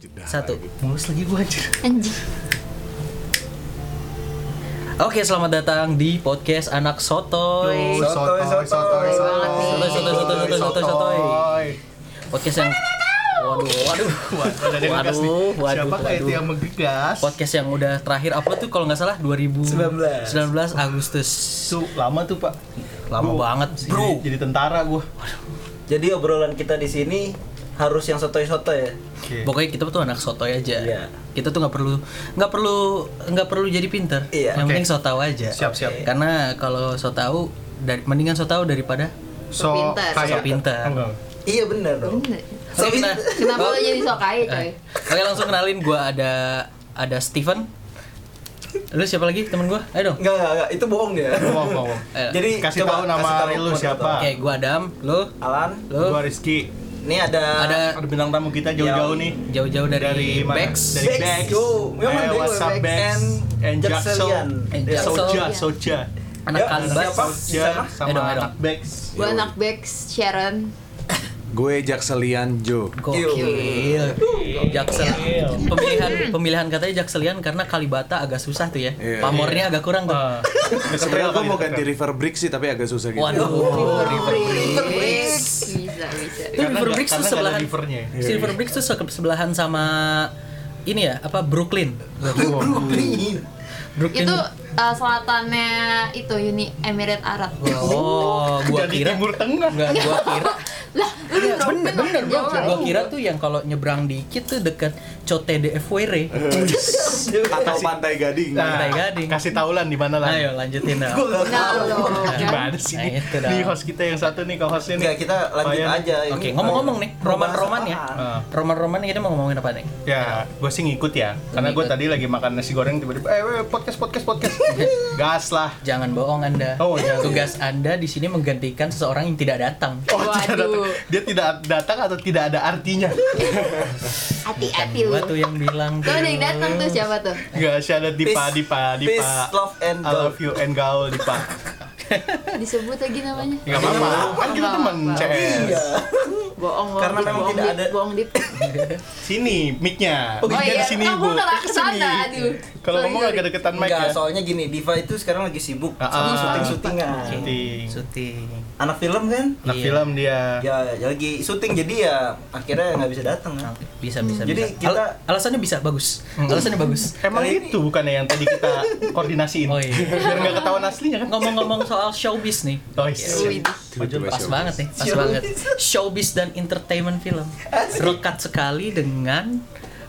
Jeddah Satu. lagi. Mulus lagi gua anjir. Anjing. Oke, selamat datang di podcast Anak Sotoy. Sotoy, sotoy, sotoy, Sotoy, sotoy, sotoy, sotoy, sotoy, sotoy. Podcast yang Waduh, waduh, Waduh, waduh, waduh, Siapa kayak itu waduh. yang menggegas? Podcast yang udah terakhir upload tuh kalau nggak salah 2019 19. Agustus. Su, lama tuh pak. Lama Gua banget, jadi- bro. Jadi, tentara gue. Jadi obrolan kita di sini harus yang sotoy-sotoy ya. Pokoknya kita tuh anak sotoy aja. Iya. Kita tuh nggak perlu nggak perlu nggak perlu jadi pinter. Iya. Yang Oke. penting so tau aja. Siap, siap. Karena kalau so tau dari mendingan so tau daripada So Pintar. kayak So pintar. Enggak. Iya bener dong. Bener. So, kita- Oh. Kenapa lo jadi sok kaya coy? Eh, Oke langsung kenalin gua ada ada Steven. Lu siapa lagi temen gua? Ayo dong. Enggak, enggak, enggak. Itu bohong dia. Bohong, bohong. Eh, Jadi Kasih coba tahu nama kasih tahu lu buat siapa. Oke, gua Adam, lu Alan, lu Gua Rizky. ini ada Ada- Ada bintang tamu kita jauh-jauh Yang- nih. jauh-jauh Eh. dari, mana? Bex. Dari Bex. Bex. Yo, memang Eh, Bex, WhatsApp Bex Bex and and Jackson. Jackselian. And Iya. Jackson. Soja, Soja. anak Ya, Kalbas. siapa? Soja Eh, dong, eh, sama dong. anak Bex. Gue anak Bex Sharon. Gue Jakselian Jo. Gokil. Jaksel. Pemilihan pemilihan katanya Jakselian karena Kalibata agak susah tuh ya. Iya. Pamornya agak kurang tuh. Ah, ketrel Sebenarnya gue kali, mau ketrel. ganti River Brick sih tapi agak susah gitu. Waduh. River Bricks. Bricks. Bisa, bisa. Itu River Bricks tuh karena nggak ada sebelahan. rivernya ya. Silver Bricks tuh se- sebelahan sama ini ya, apa Brooklyn. Brooklyn. Itu uh, selatannya itu Uni Emirat Arab. Oh, gua Jadi kira timur tengah. Enggak, gua kira lah, lu Iya, belum bener, kenal bener, gua, Jawa. gua kira tuh yang kalau nyebrang dikit tuh deket Cote de Fuere Atau Pantai Gading. Nah, Pantai Gading. Kasih taulan di mana lah. Ayo lanjutin dah Nah, lo kan. Gimana sih? Nah, ini? itu dong. Di host kita yang satu nih, co-hostnya nih. Enggak, kita lanjut Bayan. aja ini. Oke, ngomong-ngomong nih, Roman-Roman ya Apaan? Ah. Roman-Roman kita mau ngomongin apa nih? Ya, gue sih ngikut ya. Karena gue Ngikut. tadi lagi makan nasi goreng tiba-tiba, eh, eh, podcast, podcast, podcast. Gas lah. Jangan bohong anda Oh, iya. Tugas anda di sini menggantikan seseorang yang tidak datang Oh, Waduh. tidak datang. Dia tidak datang atau tidak ada artinya. Hati-hati lu. Gua tuh yang bilang Tuh ada yang datang tuh siapa tuh? Gak sih ada Dipa, Peace. Dipa, Dipa. Peace, love, and I love you and gaul, Dipa. Disebut lagi namanya. Gak apa-apa, kan kita teman Nggak CS. Iya. Bohong, bohong. Karena Dip, memang bohong, tidak Dip, ada- bohong dip. Sini, mic-nya. Oh Mic-nya iya, di sini, aku Bu. nggak kesana, aduh. Kalau Sorry, ngomong sorry. agak deketan mic Enggak, ya. soalnya gini, Diva itu sekarang lagi sibuk Ah, sama ah. syuting-syutingan. Syuting. Syuting Anak film kan? Nah, Iya. film dia. Ya, ya lagi syuting jadi ya akhirnya nggak bisa datang kan. Bisa, bisa, Jadi bisa kita- Al- Alasannya bisa, bagus Alasannya bagus Emang Kali itu bukannya yang tadi kita koordinasiin? Oh, iya. Biar nggak ketahuan aslinya kan? Ngomong-ngomong soal showbiz nih Oh, iya. Tiba-tiba Pas showbiz. banget nih, pas Showbiz. banget. Showbiz dan entertainment film rekat sekali dengan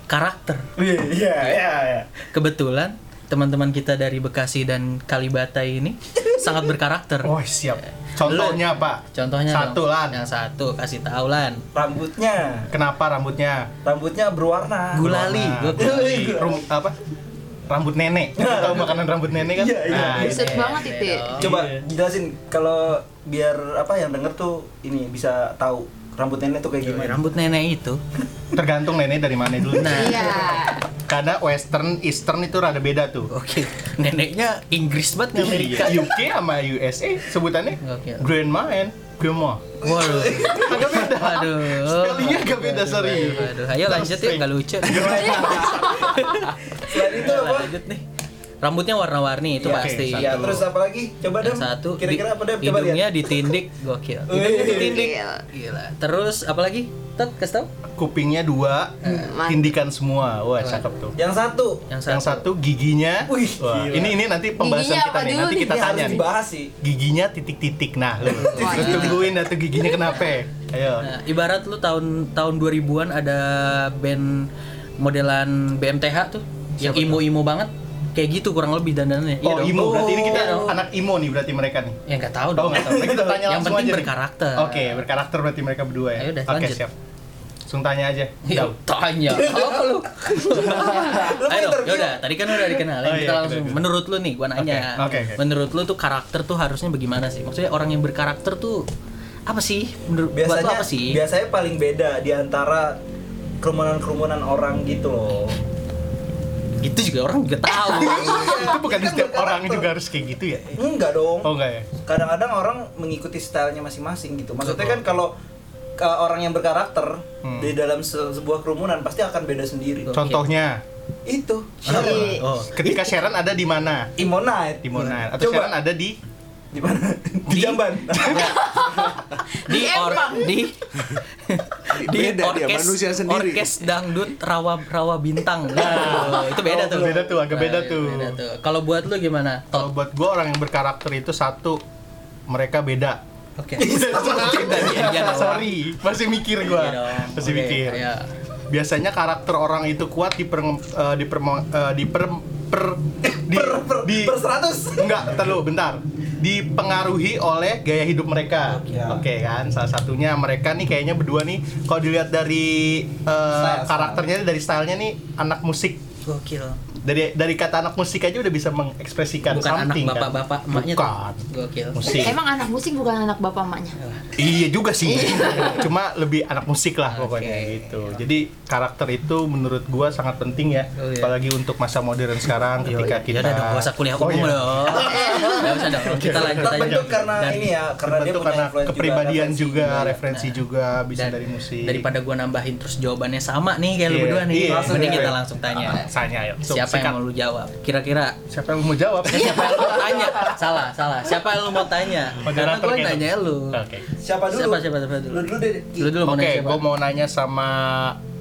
karakter. Iya, iya, iya. Kebetulan teman-teman kita dari Bekasi dan Kalibata ini sangat berkarakter. Oh, siap. Contohnya apa? Contohnya dong, satu Ya. lan. Yang satu kasih tahu lan. Rambutnya, Kenapa rambutnya? rambutnya berwarna. Gulali, Nah, gua gulali. rum- apa? Rambut nenek. Lu Tahu makanan rambut nenek kan? Iya, iya. Nah, Buset banget itu. ya. Coba Iya. jelasin kalau biar apa yang denger tuh ini bisa tahu rambut nenek tuh kayak gimana. Iya, Rambut nenek itu. tergantung nenek dari mana dulu. Nah. Iya. Karena western, eastern itu rada beda tuh. Oke, neneknya Inggris banget nggak Amerika. Iya, UK sama USA sebutannya Oke. grandma and grandma. Waduh. Agak beda. Waduh. Spellingnya agak beda, Waduh, sorry. waduh, waduh. Ayo lanjut yuk, nggak lucu. Selain itu apa? lanjut nih. Rambutnya warna-warni itu Iya, oke, pasti. satu. Ya, terus apa lagi? Coba deh. Yang satu Kira-kira di- apa deh? Coba hidungnya lihat. ditindik gokil. Wih. Hidungnya ditindik. Gila. Terus apalagi? Tet, kasih tahu. Kupingnya dua, Hmm. tindikan semua. Wah, cakep tuh. Yang satu. Yang satu. Yang satu giginya. Wih, Wah, gila. ini ini nanti pembahasan Giginya kita apa nih. dulu Nanti nih? kita Ini harus tanya nih. dibahas sih. Giginya titik-titik. Nah, lu terus Wah. iya. tungguin atau giginya kenapa? Ayo. Nah, ibarat lu tahun tahun 2000-an ada band modelan BMTH tuh yang imo-imo banget. Kayak gitu kurang lebih dandanannya. Iya Oh, dong. Imo. Berarti ini kita Iya dong. anak Imo nih berarti mereka nih. Ya nggak tahu Oh, dong. nggak tahu. Kita tanya Yang langsung penting aja nih. berkarakter. Oke, berkarakter berarti mereka berdua ya. Ayo udah, Oke, lanjut. siap. Langsung tanya aja. Ya, tanya. Apa lu? Lu Ayo dong, interview. yaudah. Tadi kan udah dikenalin. Oh, iya, kita udah, langsung. udah. Menurut lu nih, gua nanya. Oke, oke, oke. Menurut lu tuh karakter tuh harusnya bagaimana sih? Maksudnya orang yang berkarakter tuh apa sih? Menurut buat lu Biasanya apa sih? biasanya paling beda di antara kerumunan-kerumunan orang gitu loh. Itu Gitu juga orang juga tahu. Itu bukan Kan setiap orang berkarakter. juga harus kayak gitu ya? Enggak dong. Oh, enggak ya? kadang-kadang orang mengikuti stylenya masing-masing gitu maksudnya kan kalau ke orang yang berkarakter Hmm. di dalam se- sebuah kerumunan pasti akan beda sendiri. Contohnya, Itu. Iya. oh, ketika Sharon ada di mana? Imonite. Di Monas. Atau Coba Sharon ada di di mana? Di Di- Jamban. di Di or Empang. di di Beda dia, orkes manusia sendiri. orkes dangdut rawa rawa bintang nah, itu beda tuh Nah, Beda tuh, agak beda tuh. kalau buat lu gimana Kalau tot buat gue orang yang berkarakter itu satu mereka beda. oke iya, iya, dong. Sorry, masih mikir gua. Iya dong. Masih Oke, mikir. iya. Biasanya karakter orang itu kuat eh, di per di per di per per- di, per, per, di per 100. enggak, terlalu bentar. Dipengaruhi oleh gaya hidup mereka. Oke Iya. kan? Salah satunya mereka nih kayaknya berdua nih kalau dilihat dari eh, Style, style. karakternya dari stylenya nih anak musik. gokil Dari dari kata anak musik aja udah bisa mengekspresikan bukan anak something, kan? bapak-bapak emaknya tuh. Bukan. gokil Musik. Emang anak musik bukan anak bapak emaknya. Iya juga sih. Cuma lebih anak musik lah pokoknya Iya. Oke. gitu. Jadi karakter itu menurut gua sangat penting ya, Oh, iya. apalagi untuk masa modern sekarang ketika Ya kita. udah dong, gak usah kuliah Oh, umum iya. dong. Gak usah dong, kita lanjut aja. Terbentuk karena Dan- ini ya, karena dia Terbentuk punya karena influence juga, kepribadian referensi juga, juga. referensi juga bisa Nah. dan- dari musik. Daripada gua nambahin terus jawabannya sama nih kayak lu Iya, berdua nih. iya. Mending Iya. kita langsung tanya. Ah, tanya ayo. So, Siapa sikat. yang mau lu jawab? Kira-kira Siapa yang mau jawab? Eh, siapa yang lu mau tanya? Salah, salah. Siapa yang lu mau tanya? Karena Moderator gua kayak nanya lu. Oke. Siapa dulu? Siapa, siapa, siapa dulu? Lu dulu deh. Lu dulu mau Oke, nanya gua siapa? mau nanya sama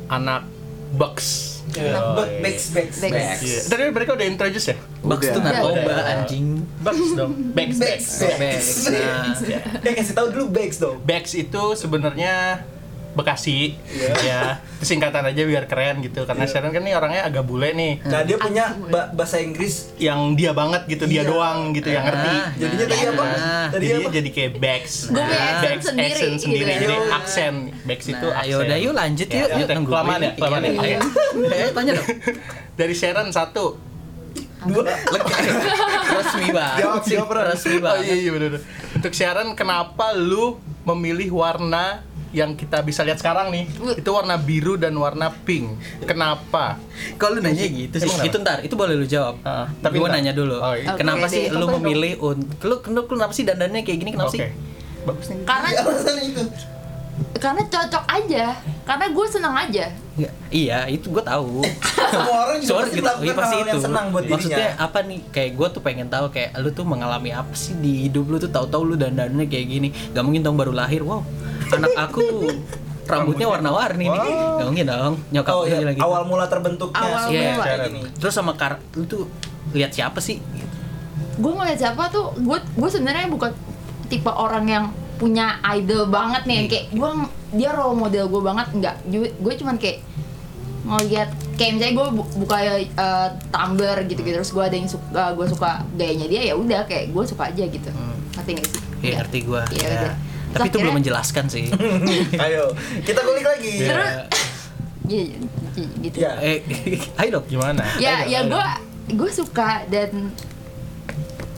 anak Bucks. Nah, back, back, back, Back. back. Iya. Tadi mereka udah introduce ya? Bugs tuh Udah. narkoba Udah. anjing. Bucks dong. Bucks, Back, Bucks. back. Back. Nah. Dia kasih tahu dulu backs dong. Bex itu sebenarnya Bekasi Iya. ya Itu singkatan aja biar keren gitu karena Sharon kan nih orangnya agak bule nih Nah, dia punya ba- bahasa Inggris. yang dia banget gitu dia Iya. doang gitu yang ngerti Iya. Nah, Jadinya tadi apa? nah. Tadi jadi apa? jadi kayak Bex Gue punya Bex, accent sendiri, accent gitu sendiri. ya. jadi aksen Bex itu Nah, aksen yaudah yuk lanjut Ya, yuk. Yuk, kita nunggu kelamaan gue ya, ini. kelamaan ya. Iya. Eh, tanya dong. dari Sharon satu Dua. Resmi banget. Jawab, jawab resmi oh iya banget. iya bener untuk Sharon kenapa lu memilih warna yang kita bisa lihat sekarang nih itu warna biru dan warna pink kenapa Kalau lu nanya gitu sih, Emang kenapa? itu ntar, itu boleh lu jawab. Heeh, tapi tapi gua ntar. nanya dulu. Oh, iya. Kenapa Oke, sih deh, lu selesai memilih untuk lu, lu, lu kenapa sih dandannya kayak gini kenapa sih? Oke. bagus nih Karena Alasan itu. karena cocok aja. Karena gue seneng aja. Nggak, Iya, itu gua tahu. Semua orang juga Soalnya pasti kita iya, melakukan pasti hal itu. yang senang buat dirinya. Maksudnya apa nih? Kayak gua tuh pengen tahu kayak lu tuh mengalami apa sih di hidup lu tuh tahu-tahu lu dandannya kayak gini. Gak mungkin dong baru lahir. Wow. Anak aku tuh rambutnya warna-warni nih. Gak mungkin dong. Nyokap Oh, gua iya. bilang gitu. awal mula terbentuknya Awal sudah mula. kayak gini. Iya, Terus sama kar lu tuh lihat siapa sih? Gue ngeliat siapa tuh, gue gue sebenarnya bukan tipe orang yang punya idol banget nih yang kayak gue dia role model gue banget nggak gue cuman kayak ngeliat kayak misalnya gue buka eh, Tumblr gitu gitu terus gue ada yang suka gue suka gayanya dia ya udah kayak gue suka aja gitu ngerti nggak sih Hmm. Iya, ngerti gua. Iya, Ya. udah. Tapi Terus itu belum akhirnya- menjelaskan sih. Ayo, kita kulik lagi. terus iya iya, iya, gitu Ya. eh, ayo dong. gimana ya Ayo, ya ayo. gue gue suka dan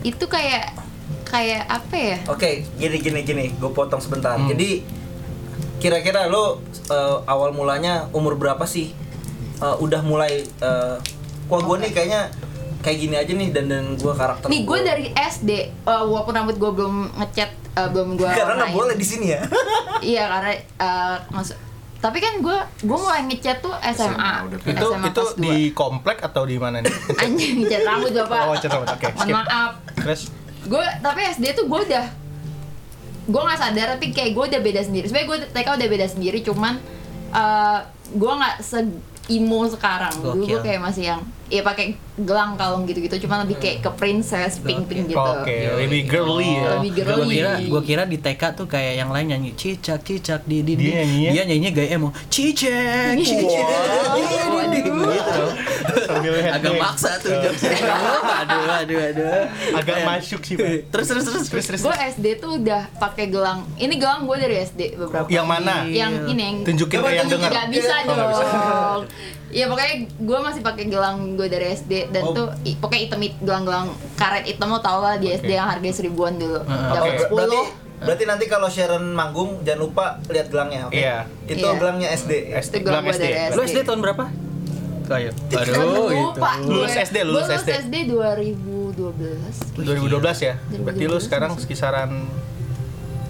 itu kayak kayak apa ya Oke, gini gini gini, gue potong sebentar. Hmm. Jadi kira-kira lo eh, awal mulanya umur berapa sih? Eh, udah mulai eh wah gue nih kayaknya kayak gini aja nih dan dan gue karakter. nih gue gua." dari SD eh, walaupun rambut gue belum ngecat eh, belum gue karena nggak boleh di sini ya. iya karena eh, maksud tapi kan gue gue mulai ngecat tuh SMA SMA, udah pindah. itu SMA itu kelas di komplek atau di mana nih 2. anjing ngecat rambut bapak Oh, ngecat rambut, oke, mohon skip. maaf terus gue tapi SD tuh gue udah gue nggak sadar tapi kayak gue udah beda sendiri sebenarnya gue TK udah beda sendiri cuman eh gue nggak se emo sekarang dulu gue Gokil. kayak masih yang ya pakai gelang kalung gitu-gitu cuman lebih kayak ke princess pink pink gitu Oh, oke lebih girly ya Lebih Gue girly. kira, gua kira di TK tuh kayak yang lain nyanyi cicak cicak di di Dia di. nyanyinya? Dia nyanyinya gaya emo cicak. Waduh, gitu dong. Sambil Agak headbang. maksa tuh jokesnya. Aduh aduh aduh. agak gitu. Kayak- masuk sih Pak. Terus terus terus terus terus. gue SD tuh udah pakai gelang ini gelang gue dari SD beberapa yang mana yang ini yang tunjukin Coba ke yang tunjukin, Gak dengar bisa Oh, nggak dong. bisa. ya pokoknya gue masih pakai gelang gue dari SD dan Oh. tuh i- pokoknya item it- gelang-gelang karet item lo tau lah di SD yang harganya seribuan dulu. Dapat Oke. Berarti sepuluh. berarti nanti kalau Sharon manggung jangan lupa lihat gelangnya, oke? Iya. Itu Iya. gelangnya SD. SD Itu gelang bilang gua SD dari Lu SD tahun berapa? Ayo. Aduh gitu. lupa gue. Lulus SD, Gua lulus lulus SD. SD 2012. 2012 ya berarti lu 2012. sekarang sekisaran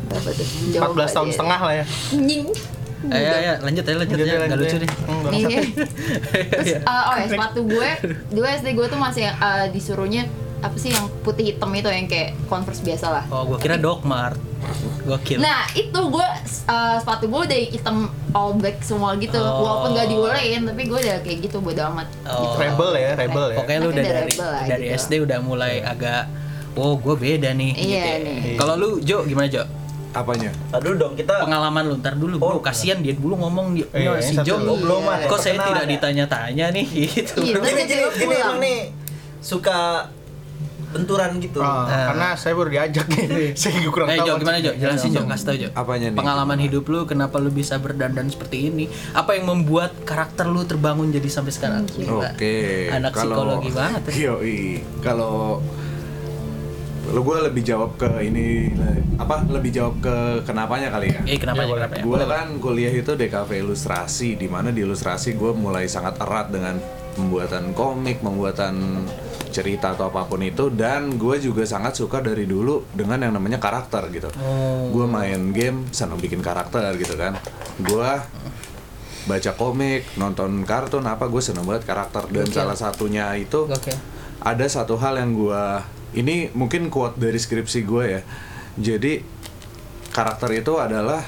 Berapa tuh? 14 tahun setengah lah ya. Nying. Ayo, ayo, lanjut aja, lanjut aja. Nggak lucu deh. Hmm, Iya. ya. Terus, Iya. eh, oh ya, sepatu gue, dulu SD gue tuh masih eh, disuruhnya apa sih yang putih hitam itu yang kayak converse biasa lah. Oh, iya. gua kira Doc Mart. Gokil. Nah itu gue eh, sepatu gue udah hitam all black semua gitu, Oh. walaupun gak diolein tapi gue udah kayak gitu bodo amat. Oh. Rebel ya, rebel ya. Pokoknya lu Tapi udah udah dari rebel lah dari gitu. SD udah mulai agak Wow, gue beda nih. Iya, ya. nih. Kalau lu Jo gimana Jo? Apanya? Aduh dong kita Pengalaman lu ntar dulu. Oh. Bro, kasihan dia dulu ngomong dia Iya, si yang Jo. satu. Oh, belum ada. Kok saya Perkenalan tidak ya? ditanya-tanya nih gitu. Iya. gini Terus gini dia gini pulang. emang nih suka benturan gitu. Ah, karena saya baru diajak nih. saya juga kurang Iya. Eh tahu. Iya, Jo gimana Jo? Jelasin Jo, kasih tau Jo. Apanya nih? Pengalaman hidup lu kenapa lu bisa berdandan seperti ini? Apa yang membuat karakter lu terbangun jadi sampai sekarang? Gila. Oke. Anak psikologi banget. ya. Yoi. Kalau lo gue lebih jawab ke ini apa lebih jawab ke kenapanya kali ya? Eh kenapa Iya, ya? boleh. Kenapa ya? Gue kan kuliah itu DKV ilustrasi, di mana di ilustrasi gue mulai sangat erat dengan pembuatan komik, pembuatan cerita atau apapun itu, dan gue juga sangat suka dari dulu dengan yang namanya karakter gitu. Oh. Gue main game, seneng bikin karakter gitu kan. Gue baca komik, nonton kartun apa gue seneng banget karakter dan salah satunya itu Gokil. ada satu hal yang gue ini mungkin quote dari skripsi gue ya. Jadi karakter itu adalah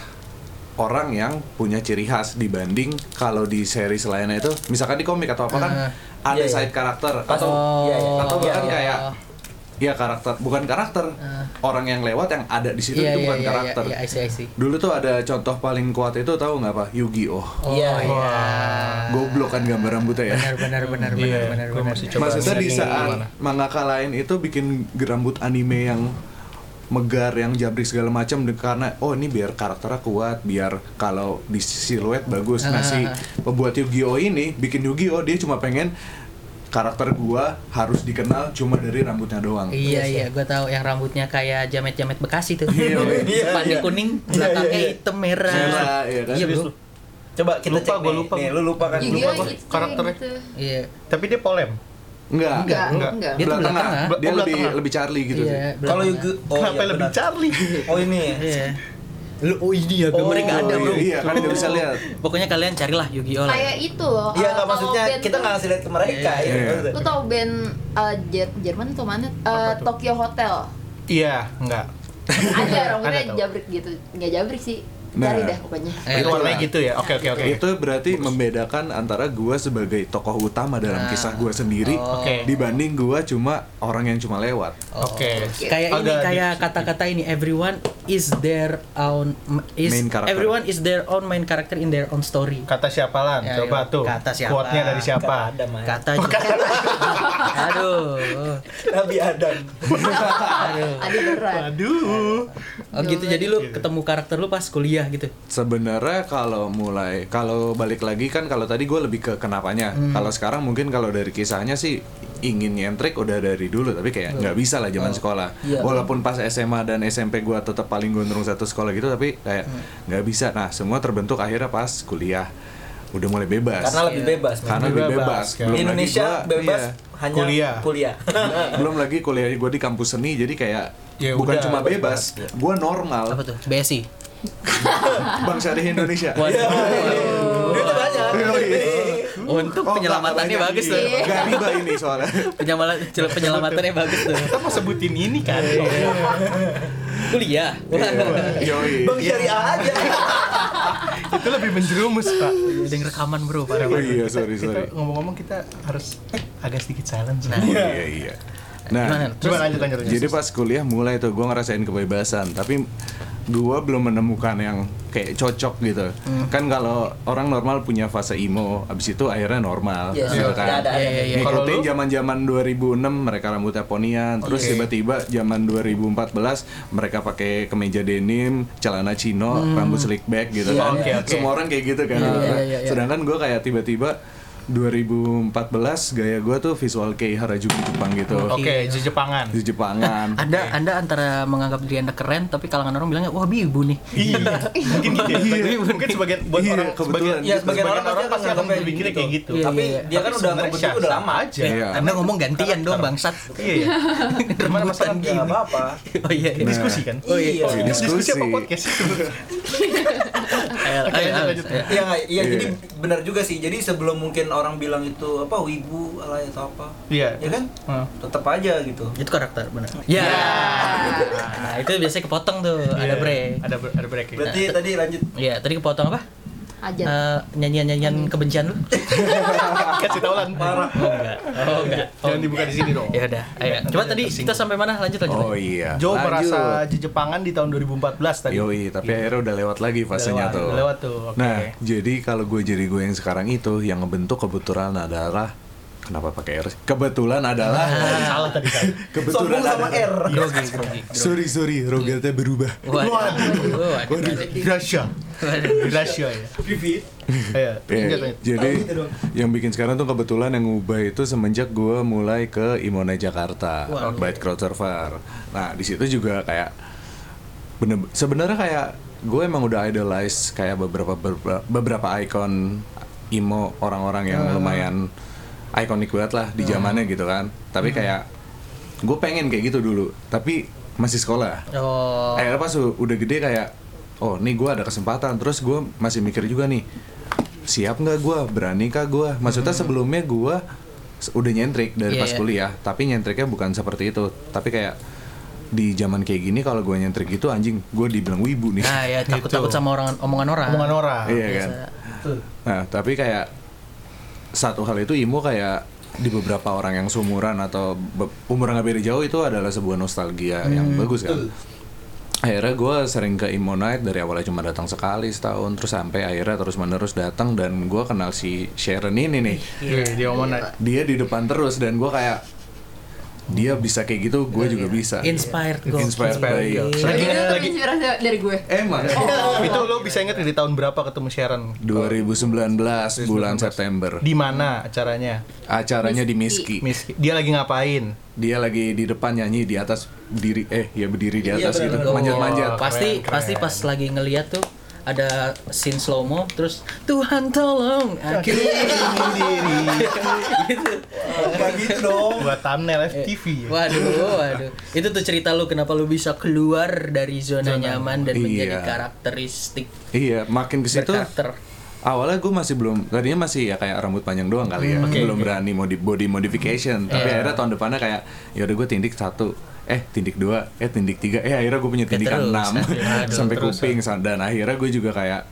orang yang punya ciri khas dibanding kalau di series lainnya itu misalkan di komik atau apa kan ada Iya, iya. side karakter Pasti. atau Oh. Iya, iya. Oh, atau Iya, bahkan iya. kayak ya karakter bukan karakter orang yang lewat yang ada di situ Ah. Iya, itu iya, bukan iya, karakter iya, iya, I see, I see. dulu tuh ada contoh paling kuat itu tahu nggak pak Yu-Gi-Oh Iya. goblok kan gambar rambutnya ya Ah. Benar benar benar benar Iya, benar. gua benar. masih coba. maksudnya di lihat saat gimana. mangaka lain itu bikin rambut anime yang megar yang jabrik segala macam de- karena oh ini biar karakternya kuat biar kalau di siluet bagus nah si Ah. pembuat Yu-Gi-Oh ini bikin Yu-Gi-Oh dia cuma pengen karakter gua harus dikenal cuma dari rambutnya doang Iya iya, gue tahu yang rambutnya kayak jamet-jamet Bekasi tuh. Iya, iya. Depannya Iya. kuning, Iya, iya, belakangnya iya. hitam merah. Merah, iya kan? Iya, Serius bro. lu? Coba kita Lupa, cek gua nih. lupa. Nih, lu lupa kan? Iya, Yu-Gi-Oh gua gitu, karakternya. gitu. Iya. Tapi dia polem. enggak Enggak, enggak. Dia enggak. tuh belah belah tengah, tengah. dia Oh, belah lebih tengah. lebih Charlie gitu Iya, sih belah Kalau tengah. Yugi iya, Kenapa lebih Charlie? Oh ini ya. Iya. Lu oh ini ya, gambarnya nggak ada, Oh, Bro. iya, kan nggak bisa lihat Pokoknya kalian carilah Yu-Gi-Oh lah. Kayak itu loh. eh, Iya nggak kalau maksudnya band kita tuh- nggak ngasih lihat ke mereka. Iya, ya. iya. maksudnya. Lu tau band eh, Jer- Jerman tuh mana? Eh, Apa tuh? Tokyo Hotel. Iya, enggak. Ada rambutnya Ada tau. jabrik gitu. Nggak jabrik sih. Nah. Cari dah pokoknya. Eh, Iya. Itu warnanya gitu ya. Oke, oke, oke. Itu berarti membedakan antara gua sebagai tokoh utama dalam Nah. kisah gua sendiri Oke. dibanding gua cuma orang yang cuma lewat. Oh, Oke. Kayak ini Agak kayak di- kata-kata ini everyone is their own is Main karakter. everyone is their own main character in their own story. Kata siapa lan? Ya, Coba iya. tuh. Kata siapa? Quote-nya dari siapa? Nggak Ada Maya. Kata Aduh. Nabi Adam. Ada berat. Aduh. Oh gitu, jadi lu ketemu karakter lu pas kuliah gitu. Sebenarnya kalau mulai kalau balik lagi kan kalau tadi gua lebih ke kenapanya. Hmm. Kalau sekarang mungkin kalau dari kisahnya sih ingin nyentrik udah dari dulu tapi kayak nggak bisa lah Oh. zaman sekolah. Iya, Walaupun pas SMA dan SMP gua tetap paling gondrong satu sekolah gitu tapi kayak Hmm. nggak bisa. Nah, semua terbentuk akhirnya pas kuliah. Udah mulai bebas. Karena lebih bebas. men. Karena lebih bebas. bebas, kan. Di Belum lagi Indonesia gua- bebas iya. hanya Kuliah. kuliah. belum lagi kuliah gue di kampus seni jadi kayak Ya bukan udah, cuma bebas. bebas, gue normal Apa tuh? BSI. bang syariah Indonesia Iya. Iya. Itu banyak. Oh, Untuk Oh, penyelamatannya bagus tuh. gak riba iya. ini soalnya Penyelamatan penyelamatannya bagus tuh. Kita mau sebutin ini kan. Kuliah. Iya. yoi Bang Syariah aja. Itu lebih menjerumus, Pak. Ada yang rekaman, Bro. Nah. parah. oh iya sorry Kita sorry ngomong-ngomong kita harus eh, agak sedikit silence. Nah. Oh, iya iya Gimana? nah Coba lanjut lanjut. lanjut. jadi pas kuliah mulai tuh gue ngerasain kebebasan tapi gue belum menemukan yang kayak cocok gitu kan kalau orang normal punya fase emo abis itu akhirnya normal Iya, gitu iya. kan Nggak ada. Iya, iya, iya. Kalau ngikutin lu? zaman-zaman 2006 mereka rambutnya ponian, Oh, terus iya. tiba-tiba zaman 2014 mereka pakai kemeja denim, celana chino, rambut slick back gitu Iya, kan. oke, oke. Semua orang kayak gitu kan. Iya, iya, iya, iya. Sedangkan gue kayak tiba-tiba 2014 gaya gue tuh visual kayak Harajuku Jepang gitu. Oh, Oke, Ah, Jepangan. Di Jepangan. Anda Anda antara menganggap diri Anda keren tapi kalangan orang bilangnya wah bibu nih. Iya, mungkin gitu ya. Mungkin sebagian buat Iya, orang kebetulan. sebagian, Iya, sebagian orang, pasti akan nganggapnya berpikirnya kayak gitu. Iya, Tapi iya. dia kan udah sebenarnya ngebentuk udah sah-sah lama. aja. Iya. Anda ngomong gantian dong bangsat. Iya. iya. Cuman Rebutan masalah Ya gini. nggak apa-apa. Oh iya. Nah. iya. diskusi kan? Oh, iya. Oh, Diskusi apa Diskusi. podcast? Ayo, Oke, ayo, lanjut, ayo. Iya nggak? Iya Iya. jadi benar juga sih. Jadi sebelum mungkin orang bilang itu apa wibu alay atau apa. Iya. Ya kan? Heeh. Tetap aja gitu. Itu karakter benar. Ya. Nah, itu biasanya kepotong tuh, ada Iya, break. Ada bre- ada break. ya. Berarti tadi lanjut Iya, tadi kepotong apa? aja Eh, nyanyian-nyanyian kebencian lu? Kasih tahu lan. parah. Oh enggak. Oh enggak. Oh, Jangan dibuka di sini dong. Ya Iya. udah, ayo. Coba tadi kita sampai mana? Lanjut lanjut. Oh lanjut. iya. Joe Lanjut. merasa jejepangan di tahun 2014 tadi. Yoi, tapi akhirnya udah lewat lagi lewat, fasenya tuh. udah lewat tuh, oke. Nah, jadi kalau gue jadi gue yang sekarang itu yang ngebentuk kebetulan adalah kenapa pakai R? sih? Kebetulan adalah Salah tadi saya. kebetulan sama R. adalah- Grogi, grogi. Sorry sorry, Rogertnya berubah. Waduh. Waduh. Waduh. Gracia. Waduh. Gracia ya. Vivi. Ayo, Iya, lanjut, lanjut. jadi Tahu gitu dong. yang bikin sekarang tuh kebetulan yang ngubah itu semenjak gue mulai ke Imona Jakarta, Byte Crowd Server. Nah di situ juga kayak bener sebenarnya kayak gue emang udah idolize kayak beberapa beberapa, beberapa ikon emo orang-orang Ah. yang lumayan ikonik banget lah di zamannya gitu kan. Tapi Hmm. kayak gue pengen kayak gitu dulu, tapi masih sekolah Oh. akhirnya pas u- udah gede kayak oh nih gue ada kesempatan terus gue masih mikir juga nih siap nggak gue berani kah gue maksudnya sebelumnya gue s- udah nyentrik Hmm. dari Iya, pas iya. kuliah tapi nyentriknya bukan seperti itu tapi kayak di zaman kayak gini kalau gue nyentrik gitu anjing gue dibilang wibu nih Nah, ya takut-takut sama orang omongan orang. Omongan orang. iya kan nah tapi kayak satu hal itu imo kayak di beberapa orang yang seumuran atau be- umuran nggak beda jauh itu adalah sebuah nostalgia yang bagus kan akhirnya gue sering ke Imo Night dari awalnya cuma datang sekali setahun terus sampai akhirnya terus menerus datang dan gue kenal si Sharon ini nih Iya, dia omongan. dia di depan terus dan gue kayak dia bisa kayak gitu gue juga bisa Inspired gokil. Iya. Inspired by you. Lagi itu lagi terinspirasi dari gue emang Iya. itu lo bisa inget di tahun berapa ketemu Sharon? 2019 bulan September Di mana acaranya? acaranya di Miski Miss, dia lagi ngapain? dia lagi di depan nyanyi di atas diri eh ya berdiri di atas gitu Oh, manjat-manjat Pasti Keren, pasti keren. pas lagi ngeliat tuh ada scene slow mo terus Tuhan tolong aku ingin diri. gitu. Kayak gitu dong. Buat thumbnail FTV ya. Waduh, waduh. Itu tuh cerita lu kenapa lu bisa keluar dari zona, nyaman dan menjadi Iya. karakteristik iya makin ke situ berkarakter. awalnya gue masih belum tadinya masih ya kayak rambut panjang doang kali Hmm. ya belum berani modi body modification Iya. tapi akhirnya tahun depannya kayak ya udah gue tindik satu eh tindik dua eh tindik tiga eh akhirnya gue punya tindikan terus, enam aduh, sampai kuping dan akhirnya gue juga kayak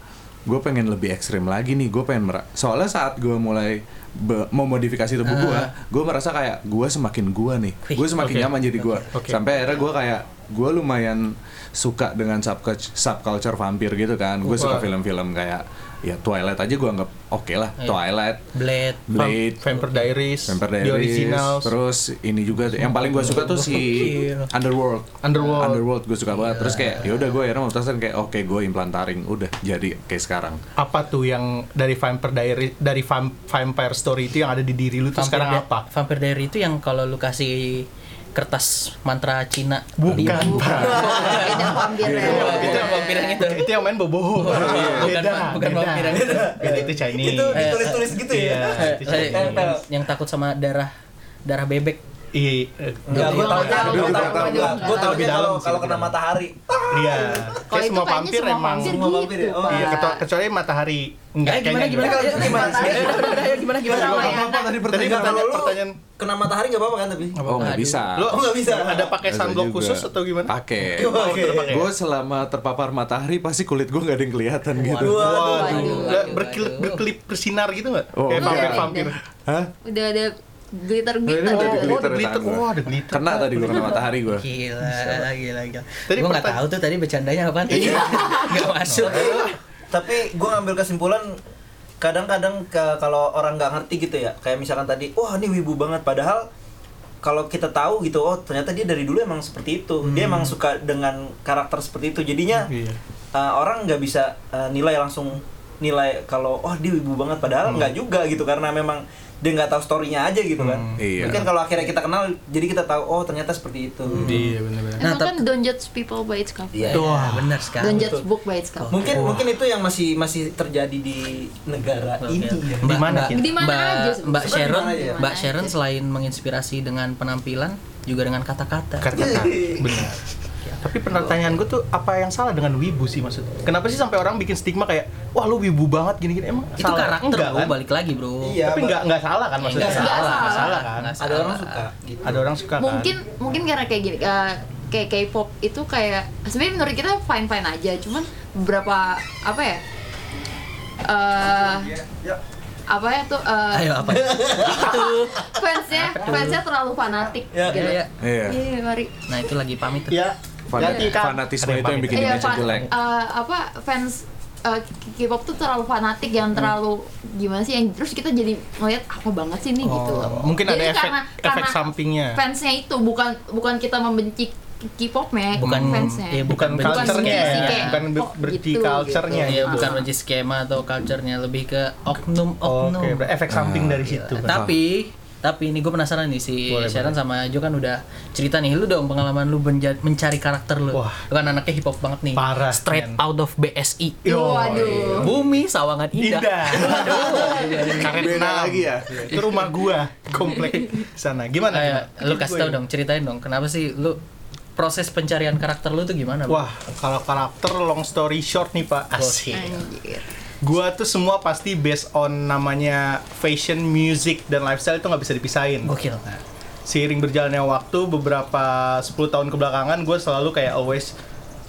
gue pengen lebih ekstrim lagi nih gue pengen mera- soalnya saat gue mulai be- memodifikasi tubuh gue Ah. gue merasa kayak gue semakin gue nih gue semakin nyaman jadi gue sampai akhirnya gue kayak gue lumayan suka dengan subculture, subculture vampir gitu kan gue suka film-film kayak ya Twilight aja gue anggap oke lah Twilight Blade. Blade Vampire Diaries, Vampire The Diaries, Originals, terus ini juga yang paling gue suka tuh si Underworld. Underworld. Underworld gue suka banget. Terus kayak ya udah gue akhirnya memutuskan kayak oke gue implantaring udah jadi kayak sekarang. apa tuh yang dari Vampire Diary dari Vam- Vampire Story itu yang ada di diri lu tuh Vampir sekarang Di- apa? Vampir Diary itu yang kalau lu kasih kertas mantra Cina Bukan, Pak. beda vampir ya. Oh, gitu yang vampir yang Iya, itu. Itu yang main bobo. Bukan, bukan gitu. vampir yang itu. Beda itu Iya, Chinese. Eh, Itu ditulis-tulis gitu Iya. ya. Eh, Itu eh, Cina. yang, yang takut sama darah darah bebek. Iya. Ya, gue tau, gue tau, gue tau Lebih dalam kalau sih kalau kena matahari. Iya. kalau Kayak itu semua kayaknya vampir semua emang. vampir Semua vampir ya? gitu Oh, Pak. Iya, keto- kecuali matahari. Enggak, Eh, gimana kayaknya gimana? enggak. Kalau itu gimana? Eh, udah, udah, ayo, gimana gimana? Gimana? gimana? Apa tadi Tadi pertanyaan? kalau lu pertanyaan kena matahari nggak apa-apa kan tapi? Oh nggak Aduh. bisa. Lu Oh, nggak bisa. Ada pakai sunblock khusus atau gimana? Pakai. Oke. Gue selama terpapar matahari pasti kulit gue nggak ada yang kelihatan gitu. Waduh, Waduh. Nggak berkelip berkelip bersinar gitu nggak? Oh, Kayak enggak. vampir-vampir. Hah? udah ada glitter Ini glitter gitu. Oh, udah ada glitter ada di glitter. tangan gue. Wah, ada glitter. Kena tadi gue kena matahari gue. Gila, gila, gila. Gue Tadi nggak pertanyaan- Iya. tahu tuh tadi bercandanya apa tadi. Nggak masuk. tapi gue ngambil kesimpulan kadang-kadang ke- kalau orang nggak ngerti gitu ya kayak misalkan tadi wah ini wibu banget padahal kalau kita tahu gitu oh ternyata dia dari dulu emang seperti itu dia emang suka dengan karakter seperti itu jadinya eh, Iya. uh, orang nggak bisa uh, eh, nilai langsung nilai kalau oh dia ibu banget padahal nggak juga gitu karena memang dia nggak tahu storynya aja gitu kan. Hmm, iya. Mungkin kalau akhirnya kita kenal jadi kita tahu oh ternyata seperti itu. Iya benar-benar. Nah, Emang kan don't judge people by its cover. Iya. Wah, benar Don't Kan, sekali. judge book by its cover. Mungkin mungkin itu yang masih masih terjadi di negara ini. ya. Mbak- mana, Mbak- Kin? Di mana Mbak- aja sebenarnya? Mbak Sharon, Di mana aja? Mbak Di mana Sharon aja? selain menginspirasi dengan penampilan, juga dengan kata-kata. Kata-kata Iya. benar. Tapi pertanyaan gue tuh apa yang salah dengan wibu sih maksudnya? Kenapa sih sampai orang bikin stigma kayak wah lu wibu banget gini-gini emang Itu salah? karakter Enggak, bro, kan? balik lagi bro. Iya, Tapi Mbak. nggak nggak salah kan Eh, maksudnya? nggak salah. Nggak salah kan? Nggak Ada orang suka gitu. Ada orang suka kan? mungkin mungkin karena kayak gini eh, kayak K-pop itu kayak sebenarnya menurut kita fine fine aja cuman beberapa apa ya eh apa ya tuh eh, Ayo apa? itu. fansnya fansnya terlalu fanatik Ya, gitu ya, ya. Iya. Iya, mari Nah itu lagi pamit. tuh. Ya, kan. Fanat- ganti, Kak. fanatisme Ada itu yang pamit. bikin Iya, Indonesia fan- jelek. eh, apa fans eh, K-pop tuh terlalu fanatik yang terlalu gimana sih yang terus kita jadi ngeliat apa banget sih ini gitu. loh. Oh, mungkin ada Jadi efek- efek ya. sampingnya. Fansnya itu bukan bukan kita membenci K-pop ya, Bukan Hmm. fansnya. ya, Iya, bukan Bukan benci culture-nya, sih, ya. kayak, bukan oh, ber- berarti gitu, culture-nya. gitu. ya. Iya, bukan oh, menjadi skema atau culture-nya lebih ke oknum oknum. Oh. Eh, Oke, ber- efek samping dari situ. kan. tapi tapi ini gue penasaran nih si Boleh, Sharon sama Jo kan udah cerita nih lu dong pengalaman lu benja- mencari karakter lu. Wah. Lu kan anaknya hip hop banget nih. Parah, Straight men. out of BSI. Yo, Waduh. Bumi Sawangan Indah. Indah. Karet Beda enam. lagi ya? Itu rumah gua, komplek sana. Gimana? Ayo, gimana? lu kasih tau dong, ceritain dong. Kenapa sih lu proses pencarian karakter lu tuh gimana? Bro? Wah, kalau karakter long story short nih Pak. Asik. Anjir. Gua tuh semua pasti based on namanya fashion, music, dan lifestyle itu nggak bisa dipisahin. gokil. seiring berjalannya waktu beberapa 10 tahun kebelakangan gue selalu kayak always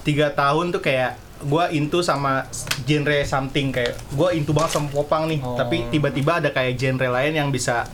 tiga tahun tuh kayak gue into sama genre something kayak gue into banget sama popang nih tapi tiba-tiba ada kayak genre lain yang bisa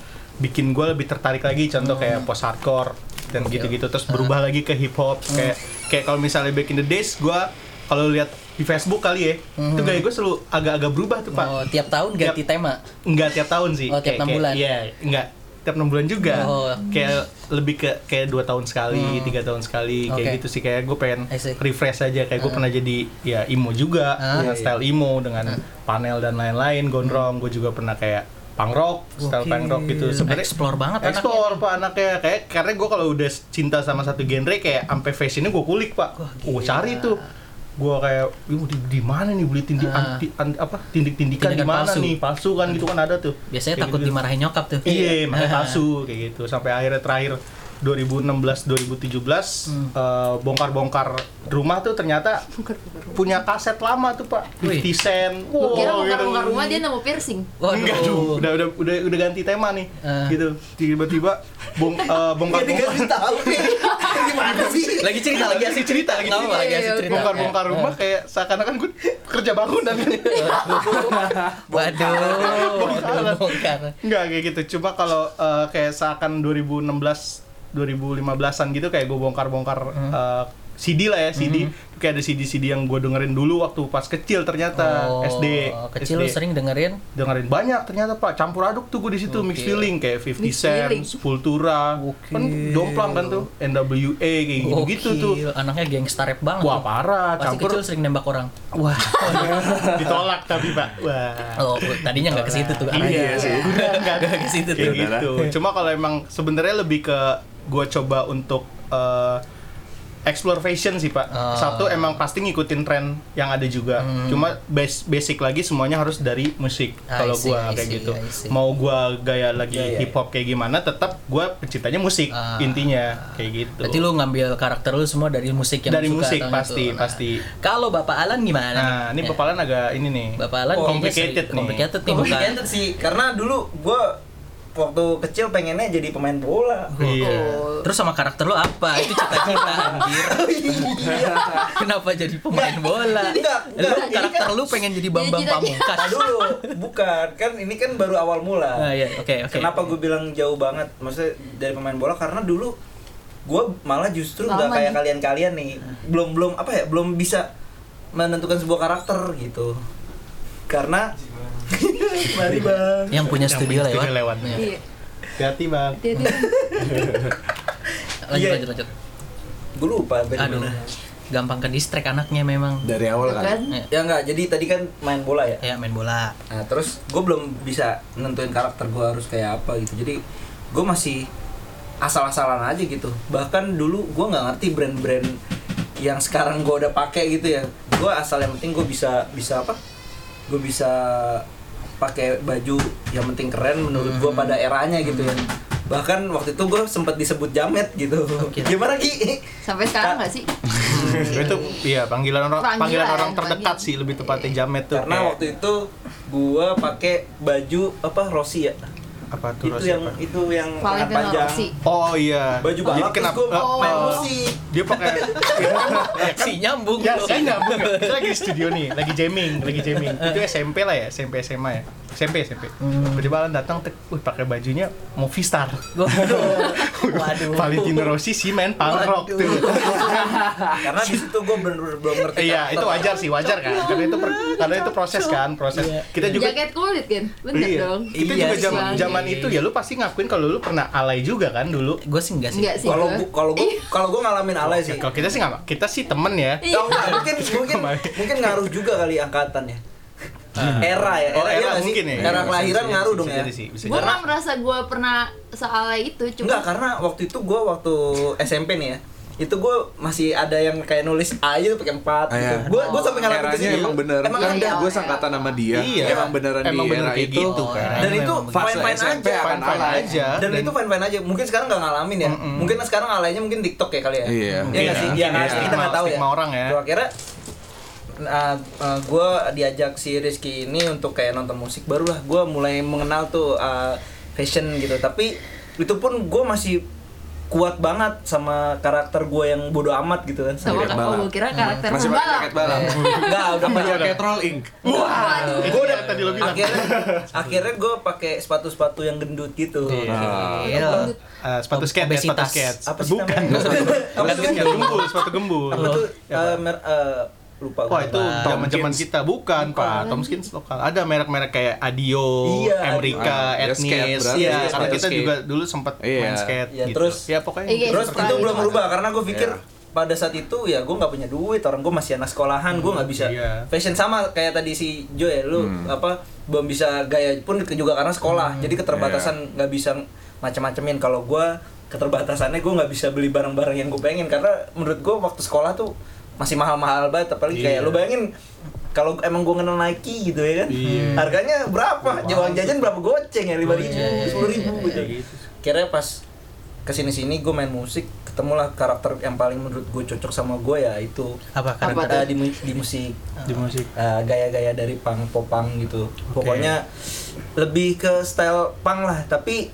bikin gue lebih tertarik lagi contoh kayak post hardcore dan gitu-gitu terus berubah lagi ke hip hop kayak kayak kalau misalnya back in the days gue kalau lihat di Facebook kali ya itu gaya gue selalu agak-agak berubah tuh pak Oh, tiap tahun ganti Tiap- tema. Enggak tiap tahun sih. Oh, tiap Kayak- enam kayak- bulan. Iya, enggak tiap enam bulan juga. Oh. Hmm. Kayak lebih ke kayak dua tahun sekali, tiga tahun sekali, kayak Oke. gitu sih. Kayak gue pengen I see. refresh aja. Kayak gue pernah jadi ya emo juga, Ah. Hmm. dengan style emo dengan panel dan lain-lain, gondrong. Gue juga pernah kayak punk rock, style Gokil. punk rock gitu. Sebenarnya Explore banget anaknya. Explore pak anaknya kayak karena gue kalau udah cinta sama satu genre kayak sampai fashionnya gue kulik pak. Wah, Gue gila. cari tuh gue kayak, "Yuh, di, di mana nih beli tindik, Ah. anti- anti- apa tindik-tindikan Tindikan di mana palsu. nih palsu kan gitu kan ada tuh. Biasanya Kayak takut gitu. dimarahin nyokap tuh. Iya, makanya Ah. palsu kayak gitu. Sampai akhirnya terakhir 2016 2017 Hmm. eh, bongkar-bongkar rumah tuh ternyata punya kaset lama tuh, Pak. Wih. 50 cent. Gua kira Wow, gitu. buka-buka rumah dia nemu piercing. Waduh. Enggak dong, udah, udah udah udah ganti tema nih. Eh. Gitu. Tiba-tiba bong eh, bongkar-bongkar tahu nih. Gimana sih? Lagi cerita, lagi asik cerita, lagi Nggak cerita, apa, lagi asik iya, cerita. Eh. bongkar-bongkar rumah kayak seakan-akan gue kerja kan. bangunan Waduh, waduh, bongkar. Enggak kayak gitu. Cuma kalau eh, kayak seakan 2016 2015-an gitu kayak gue bongkar-bongkar Hmm. eh, CD lah ya CD kayak ada CD-CD yang gue dengerin dulu waktu pas kecil ternyata Oh, SD Kecil SD. lu sering dengerin dengerin banyak ternyata pak campur aduk tuh gue di situ Oke. mix feeling kayak 50 Mixed Cent, feeling. Sepultura, Oke. kan domplang kan tuh NWA kayak gitu gitu Gokil, tuh Anaknya gangster rap banget. wah tuh. parah Pasti campur kecil sering nembak orang. wah ditolak tapi pak wah Oh, tadinya nggak ke situ tuh Iya arahnya. sih. Udah enggak Nggak ke situ kayak tuh. Yaudah gitu. Cuma kalau emang sebenarnya lebih ke gua coba untuk eh, explore fashion sih pak. Ah. Hmm. Satu emang pasti ngikutin tren yang ada juga. Cuma bas- basic lagi semuanya harus dari musik. Ah, I Kalau see, gua I kayak see, gitu. I see. Mau gua gaya lagi Iya, iya. hip hop kayak gimana, tetap gua penciptanya musik Ah. intinya kayak gitu. Berarti lu ngambil karakter lu semua dari musik yang Dari lu suka musik, tahun pasti, itu. pasti. Nah, Kalau Bapak Alan gimana? Nah, ini Ya. bepalan agak ini nih. Bapak Alan Oh, kayaknya complicated seri- nih. Complicated nih, bukan? Complicated sih, karena dulu gue waktu kecil pengennya jadi pemain bola. Iya. Terus sama karakter lu apa? Itu cita-cita anjir. Oh, iya. Kenapa jadi pemain bola? Enggak, enggak. Lu karakter lu pengen jadi Bambang Jadi Pamungkas. Nah dulu, bukan kan ini kan baru awal mula. Nah, iya, oke, oke. Kenapa gue bilang jauh banget? Maksudnya dari pemain bola karena dulu gue malah justru nggak Lama kayak nih. kalian-kalian nih. Belum belum apa ya? Belum bisa menentukan sebuah karakter gitu. Karena mari bang. Yang punya Yang studio punya lewat. studio lewat. Iya. Iya. Hati-hati, Bang. Dia dia Lanjut, Iya. lanjut, lanjut. Gue lupa. sampai di Aduh. mana. gampang ke distract anaknya memang dari awal kan kan? Iya. ya nggak jadi tadi kan main bola ya ya main bola Nah, terus gue belum bisa nentuin karakter gue harus kayak apa gitu. Jadi gue masih asal-asalan aja gitu. Bahkan dulu gue nggak ngerti brand-brand yang sekarang gue udah pakai gitu ya. Gue asal yang penting gue bisa bisa apa? Gue bisa pakai baju yang penting keren menurut gue pada eranya gitu ya. Bahkan waktu itu gue sempet disebut jamet gitu. Oke. Gimana Ki? Sampai sekarang nggak sih? Hmm. itu iya panggilan orang panggilan, Panggilan, orang terdekat panggilan. sih lebih tepatnya jamet tuh Iya. Karena kayak- waktu itu gue pakai baju apa Rossi ya. apa tuh Itu Ros, yang apa? itu yang lengan Valentino panjang. Rossi. oh iya baju balap jadi kenapa terus gue Oh, main oh. musik dia pakai si nyambung ya loh. saya nyambung ya. kita lagi di studio nih lagi jamming lagi jamming itu SMP lah ya SMP SMA ya SMP SMP Hmm. tiba-tiba Alan datang tek, wih pakai bajunya movie star Waduh. Waduh. Valentino Rossi sih men punk rock tuh karena di situ gue bener-bener belum ngerti iya itu wajar sih wajar kan karena itu per- karena itu proses kan proses Iya. kita juga Jaket kulit kan? Bener iya. dong. Kita Iya juga sih. zaman zaman itu ya lu pasti ngakuin kalau lu pernah alay juga kan dulu. gue sih enggak sih Enggak sih. kalau Iya. gua. gua- kalau gue kalau gue ngalamin alay Iya sih Ya, kalau kita sih nggak, kita sih temen ya. Iya. Tau nggak, mungkin mungkin mungkin ngaruh juga kali angkatan ya era ya Oh, era, iya era nggak sih? mungkin ya. era Iya, kelahiran bisa jadi, ngaruh bisa dong ya jadi sih, bisa Gue nggak merasa gue pernah soalnya itu, Enggak, cuma karena waktu itu gue waktu SMP nih ya itu gue masih ada yang kayak nulis A aja tuh pakai empat Ah, gitu. iya. Gue gue sampai ngalamin eranya kesini. emang bener Emang iya. kan ada. gue sangkatan sama dia Iya. emang beneran Emang di bener era kayak itu gitu Oh, kan. era Dan ini itu memang fase fine fine SMP aja. akan Fine-fine alay aja. dan, Dan- itu fine fine aja mungkin sekarang nggak ngalamin ya mungkin sekarang alaynya mungkin TikTok ya kali ya Iya, ya nggak mungkin sih ya. ya, nggak Iya. sih? kita nggak tahu ya Stigma orang ya. Gua kira gue diajak si Rizky ini untuk kayak nonton musik barulah gue mulai mengenal tuh uh, fashion gitu tapi itu pun gue masih kuat banget sama karakter gue yang bodoh amat gitu kan sama Jaket balap. oh, gue kira karakter masih pakai pembalap. jaket balap nggak udah sama udah. jaket roll ink Gue udah tadi lo bilang. akhirnya akhirnya gue pakai sepatu-sepatu yang gendut gitu Iya. Eh, sepatu skate, ya, sepatu Obesitas. skate. Apa sih Bukan. namanya? Apa Sepatu sih skate gembul, sepatu gembul. Ya, apa tuh eh, mer- eh, lupa Wah gua. itu zaman-zaman kita bukan Pak Tomskins lokal. Ada merek-merek kayak Adio, Iya, Amerika, Adio. Ya, skate Etnis. berarti, Iya, ya, karena sepatu kita skate. juga dulu sempat main Iya. skate Iya, gitu. terus- ya pokoknya Iya, Terus Setelah itu itu belum ada. berubah karena gue pikir Iya. pada saat itu ya gue nggak punya duit orang gue masih anak sekolahan gue nggak bisa Iya. Hmm. fashion sama kayak tadi si Jo ya lu apa belum bisa gaya pun ke- juga karena sekolah jadi iya. keterbatasan nggak bisa macam-macamin kalau gue keterbatasannya gue nggak bisa beli barang-barang yang gue pengen karena menurut gue waktu sekolah tuh masih mahal-mahal banget apalagi kayak Iya. lu bayangin kalau emang gue kenal Nike gitu ya kan Iya. Oh, harganya berapa uang jajan berapa goceng ya lima ribu iya, sepuluh ribu gitu gitu. kira pas kesini sini gue main musik ketemulah karakter yang paling menurut gue cocok sama gue ya itu apa karena Eh, di, mu- di musik di musik. Eh, gaya-gaya dari pang popang gitu pokoknya lebih ke style pang lah tapi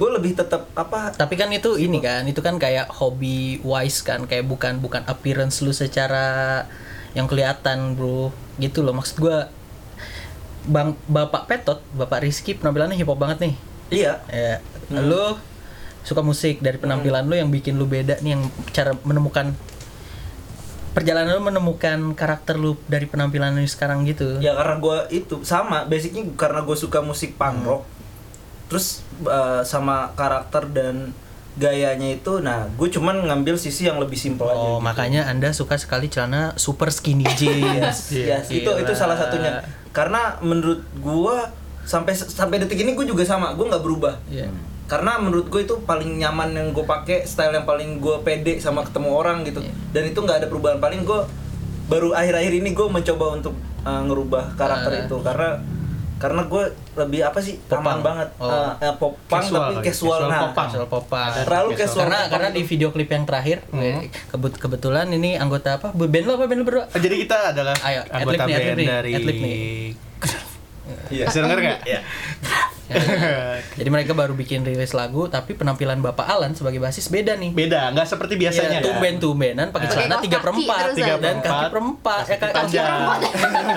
gue lebih tetap apa tapi kan itu ini kan itu kan kayak hobi wise kan kayak bukan bukan appearance lu secara yang kelihatan bro gitu loh maksud gua bang bapak Petot bapak Rizky penampilannya hip hop banget nih iya ya lu suka musik dari penampilan lu yang bikin lu beda nih yang cara menemukan perjalanan lu menemukan karakter lu dari penampilan lu sekarang gitu ya karena gue itu sama basicnya karena gue suka musik punk Hmm. rock terus eh, sama karakter dan gayanya itu nah gue cuman ngambil sisi yang lebih simpel aja oh gitu. makanya anda suka sekali celana super skinny jeans Gila. Iya, itu itu salah satunya. Karena menurut gua sampai sampai detik ini gua juga sama, gua nggak berubah. Iya. Karena menurut gue itu paling nyaman yang gue pakai, style yang paling gue pede sama ketemu orang gitu. Dan itu nggak ada perubahan. Paling gue baru akhir-akhir ini gue mencoba untuk uh, ngerubah karakter itu karena karena gue lebih apa sih Popang. aman banget Oh. Uh, uh, popang Casual tapi kali, casual, casual nah. popang. Casual popang. Terlalu casual karena popang karena itu. di video klip yang terakhir eh, kebut kebetulan ini anggota apa band lo apa band lo berdua Ah, Jadi kita adalah Ayo, anggota adlib nih, adlib band nih, dari adlib nih. Iya. Bisa denger nggak? jadi mereka baru bikin rilis lagu tapi penampilan bapak Alan sebagai basis beda nih Beda, nggak seperti biasanya. Biasanya kan? Iya. tumben tumbenan pakai Pakai celana kaos tiga kaki perempat terus aja. dan kaki perempat ya kaki Panjang. perempat.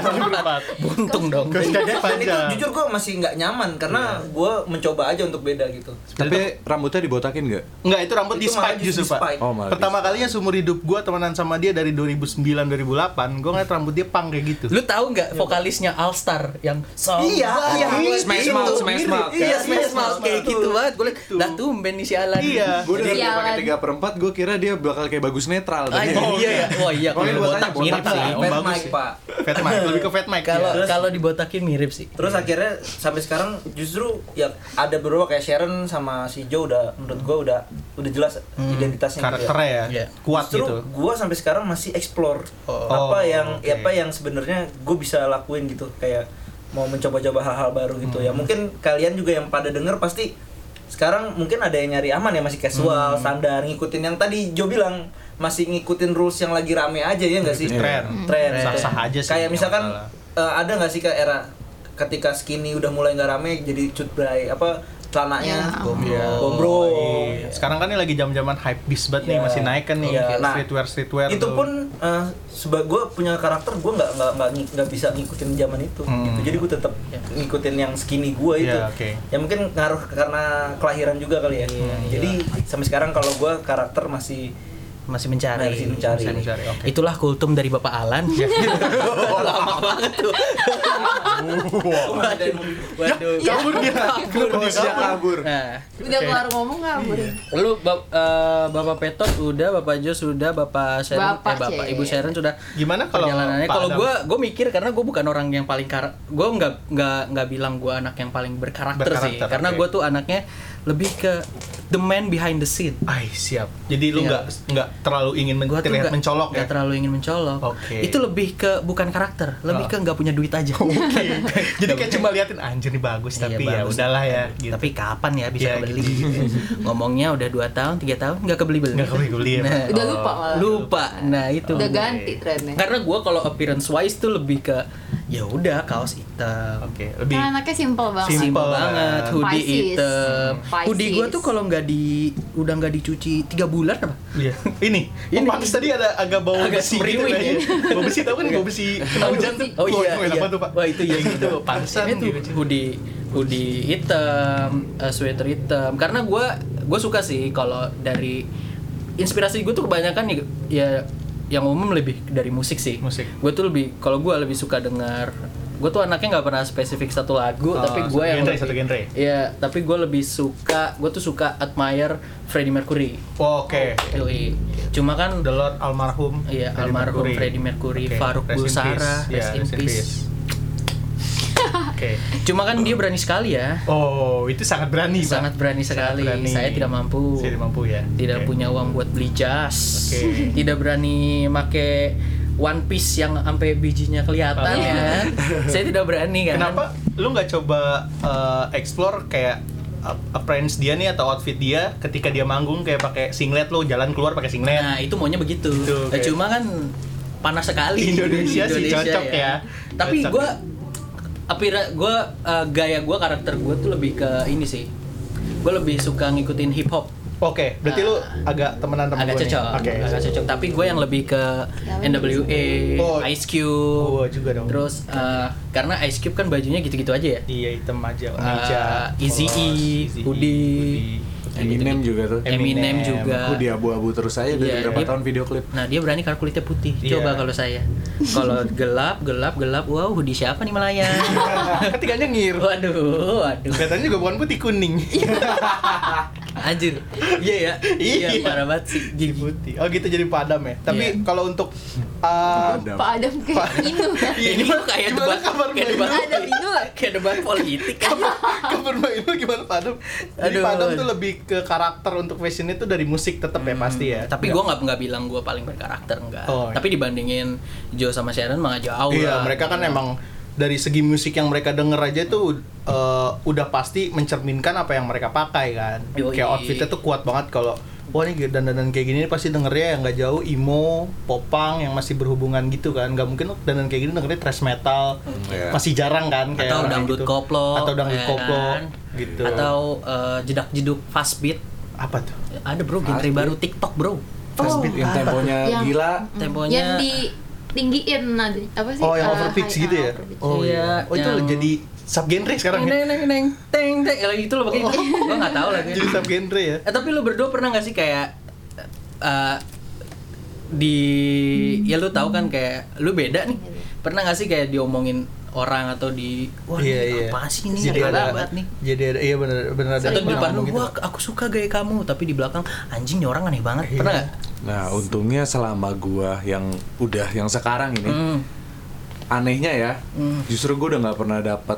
Kaki perempat. buntung dong Kaos kaki Dan itu panjang. jujur gue masih nggak nyaman karena gue mencoba aja untuk beda gitu. tapi rambutnya dibotakin nggak Enggak, itu rambut Itu di malah spike justru justru, di spike. Pak. Oh, malah Pertama di kalinya seumur hidup gua temenan sama dia dari 2009 2008, gua ngeliat rambut dia pang kayak gitu. lu tahu nggak vokalisnya All Star yang Iya, iya. Smash Mouth, Smash smart, kan? Iya, Iya, smash mouth kayak gitu banget. Gue liat, lah tumben nih si Alan. Iya. Gue udah Jadi dia pakai Alan- tiga per empat, gue kira dia bakal kayak bagus netral. Ah, tadi. iya, iya, iya. Wah, iya. Pokoknya Kalau gua botak tanya, mirip botak sih. lah. Om Fat bagus Mike, sih. Pak. Fat Mike, lebih ke Fat Mike. Kalau iya. kalau dibotakin mirip sih. Terus akhirnya sampai sekarang justru ya ada beberapa kayak Sharon sama si Joe udah menurut gua udah udah jelas identitasnya gitu ya. Hmm, karakternya ya Iya. kuat Justru gitu. gua sampai sekarang masih explore Oh. apa Oh, yang oke. apa yang sebenarnya gue bisa lakuin gitu kayak mau mencoba-coba hal-hal baru gitu Hmm. ya mungkin kalian juga yang pada denger pasti sekarang mungkin ada yang nyari aman ya masih Hmm. casual standar ngikutin yang tadi Jo bilang masih ngikutin rules yang lagi rame aja ya nggak sih Ngikutin tren. tren Hmm. Sah-sah aja sih, kayak yang misalkan masalah. eh, ada nggak sih ke era ketika skinny udah mulai nggak rame jadi cut bray apa Ya, celananya ampun. Iya. Oh, Gombro. Iya. Sekarang kan ini lagi zaman-zaman hype beast banget nih, Iya. masih naik kan nih Iya. Nah, streetwear streetwear. itu tuh. pun eh sebab gue punya karakter gue nggak nggak nggak ngi- nggak bisa ngikutin zaman itu Hmm. gitu jadi gue tetap Iya. ngikutin yang skinny gue itu Iya, oke. Hmm, iya. ya mungkin ngaruh ke- karena kelahiran juga kali ya jadi sampai sekarang kalau gue karakter masih Masih mencari. Masih mencari. Masih mencari, oke. Itulah kultum dari Bapak Alan. Lama banget tuh. Waduh. Ya, Waduh. kabur dia. Kenapa dia Dia kabur? kabur. Nah, Udah Oke. Iya. Oh, keluar ngomong ngaburin. Lu bap- eh, Bapak Petot udah, Bapak Jo sudah, Bapak Sharon, Bapak eh Bapak Cek. Ibu Sharon sudah. Gimana kalau perjalanannya? Pak Kalau Adam? gue, gue mikir karena gue bukan orang yang paling kar, gue nggak nggak nggak bilang gue anak yang paling berkarakter, sih, Berkarakter, karena oke. gue tuh anaknya lebih ke the man behind the scene. Ai, siap. Jadi lu Iya. nggak nggak terlalu ingin men Gua tuh terlihat nggak- mencolok ya. nggak terlalu ingin mencolok. Oke. Itu lebih ke bukan karakter, lebih Ah. ke nggak punya duit aja. Oke. Jadi kayak cuma liatin anjir nih bagus Iya, tapi ya bagus. udahlah ya gitu. Tapi kapan ya bisa Iya, kebeli? gitu. Ngomongnya udah 2 tahun, 3 tahun nggak Nah, kebeli beli. Nggak kebeli-beli ya, Pak. Udah lupa malah. lupa. Nah itu. Udah gua. ganti trennya. Karena gue kalau appearance wise tuh lebih ke ya udah kaos hitam. Oke, lebih Nah, anaknya simple banget. Simple. Simple banget, hoodie Pisces. hitam. Pisces. Hoodie gue tuh kalau nggak di udah nggak dicuci tiga bulan apa? Iya. Ini, ini Ini. pantas tadi ada agak bau Agak besi gitu semriwing. kan ya. Bau besi tau kan bau besi kena hujan tuh. Oh iya, Tuh, iya. Apa tuh, Pak? Wah itu ya gitu. Pantesan Itu gitu. hoodie hoodie hitam, eh, sweater hitam. Karena gue gue suka sih kalau dari inspirasi gue tuh kebanyakan ya, ya yang umum lebih dari musik sih. Musik. Gue tuh lebih kalau gue lebih suka dengar gue tuh anaknya nggak pernah spesifik satu lagu Oh, tapi satu gue yang genre, lebih- satu genre. Iya, tapi gue lebih suka gue tuh suka admire Freddie Mercury. Oke. Yoi. Cuma kan The Lord almarhum. Iya, Freddie almarhum Mercury. Freddie Mercury, Oke, Faruk rest in Bulsara, peace. Iya, rest in peace. Oke. Cuma kan dia berani sekali ya. Oh, itu sangat berani, Pak. Sangat berani sekali. Saya tidak mampu. Saya tidak mampu ya. Tidak Oke. punya uang buat beli jas. Oke. Tidak berani make one piece yang sampai bijinya kelihatan Oh. ya. Saya tidak berani kan. Kenapa lu nggak coba uh, explore kayak ap- appearance dia nih atau outfit dia ketika dia manggung kayak pakai singlet lo jalan keluar pakai singlet. Nah, itu maunya begitu. Itu, Eh, oke. Cuma kan panas sekali Indonesia sih cocok ya. Tapi Cocok. gue apira gue gaya gue karakter gue tuh lebih ke ini sih. Gue lebih suka ngikutin hip hop. Oke, berarti lu agak temenan temen Ah. agak gua nih. cocok, Oke. agak cocok. Tapi gue yang lebih ke NWA, Oh. Ice Cube, Oh, gua juga dong. terus eh, karena Ice Cube kan bajunya gitu-gitu aja ya. Iya, hitam aja, meja, Eh, Eazy-E, polos, E, hoodie. Eminem juga tuh. Eminem, Eminem. juga. Aku dia abu-abu terus aja dari Iya, berapa dia- tahun video klip. Nah dia berani kalau kulitnya putih. Iya. Coba kalau saya, kalau gelap, gelap, gelap. Wow, hoodie siapa nih melayang? Ah, Ketiganya ngir. waduh, waduh. Kelihatannya juga bukan putih kuning. Iya. Anjir. Iya ya. Iya Iya. parah banget sih. jadi putih. Oh gitu jadi padam ya. Tapi Iya. kalau untuk uh, Adam. Pak Adam kayak Inu. Iya, Ini mah kayak gimana debat, kabar kayak Mbak debat, Inu? Ada Inu lah. kayak debat politik. kabar main lu gimana padam? Jadi Aduh. padam tuh lebih ke karakter untuk fashion itu dari musik tetap ya pasti Hmm, ya. Iya, Tapi gue nggak nggak bilang gue paling berkarakter enggak. Oh, iya. Tapi dibandingin Joe sama Sharon mah jauh Iya, lah. mereka kan emang dari segi musik yang mereka denger aja tuh eh, udah pasti mencerminkan apa yang mereka pakai kan. Yoi. Kayak outfitnya tuh kuat banget kalau wah ini dandanan kayak gini pasti dengernya yang nggak jauh emo, popang yang masih berhubungan gitu kan. Nggak mungkin loh dandanan kayak gini dengernya thrash metal. Iya. Masih jarang kan kayak atau orang dangdut gitu. koplo atau dangdut ya koplo kan? gitu. atau eh, jedak jeduk fast beat apa tuh? ada bro genre Fast beat. baru TikTok bro Fast beat yang temponya Eh, Yang- mm, gila. Temponya- Yang di tinggiin nanti apa sih? Oh, yang Eh, overpitch high- gitu ah, ya? overpitch. Oh iya. Iya, Oh itu yang- jadi subgenre sekarang ya? neng neng neng teng teng Ya, itu lo pakai Oh. gue nggak tahu lagi Jadi subgenre ya? eh, tapi lo berdua pernah nggak sih kayak eh, Iya. di ya lu tahu kan kayak lu beda nih pernah nggak sih kayak diomongin orang atau di wah Iya, ini iya. apa sih ini jadi ada, ada banget nih jadi ada, iya benar benar ada atau di yang depan lu ngomong gitu. wah aku suka gaya kamu tapi di belakang anjing nih orang aneh banget pernah nggak Nah, untungnya selama gua yang udah yang sekarang ini, Hmm. anehnya ya, justru gua udah nggak pernah dapat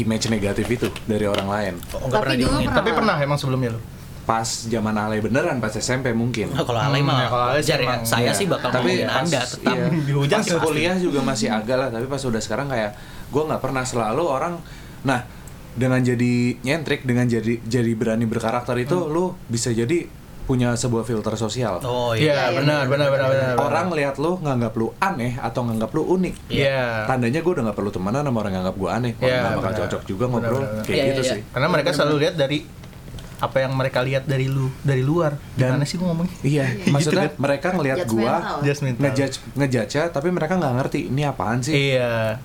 image negatif itu dari orang lain. Oh, nggak Tapi dulu diomongin. pernah. Tapi pernah emang sebelumnya lo? Pas zaman alay beneran, pas SMP mungkin. Nah, kalau alay Hmm, mah ya, kalau alay sih wajar ya. emang, saya Iya. sih bakal ngomongin pas- anda tetap iya. Dihujat pas sih pasti. kuliah juga masih agak lah tapi pas udah sekarang kayak gue nggak pernah selalu orang nah dengan jadi nyentrik dengan jadi jadi berani berkarakter itu lu bisa jadi punya sebuah filter sosial Hmm. oh iya Iya, benar benar benar benar. benar. orang lihat lu nganggap lu aneh atau nganggap lu unik Iya. tandanya gue udah nggak perlu temenan sama orang yang nganggap gue aneh orang Iya, nggak bakal benar. cocok juga ngobrol Benar, benar. kayak Iya, gitu iya, sih Karena mereka selalu lihat dari apa yang mereka lihat dari lu, dari luar. Dan- Gimana sih gua ngomongnya? Iya, maksudnya Gitu mereka ngelihat gua Judgmental. Just mental. ngejudge ngejudge ya, tapi mereka nggak ngerti ini apaan sih. Iya.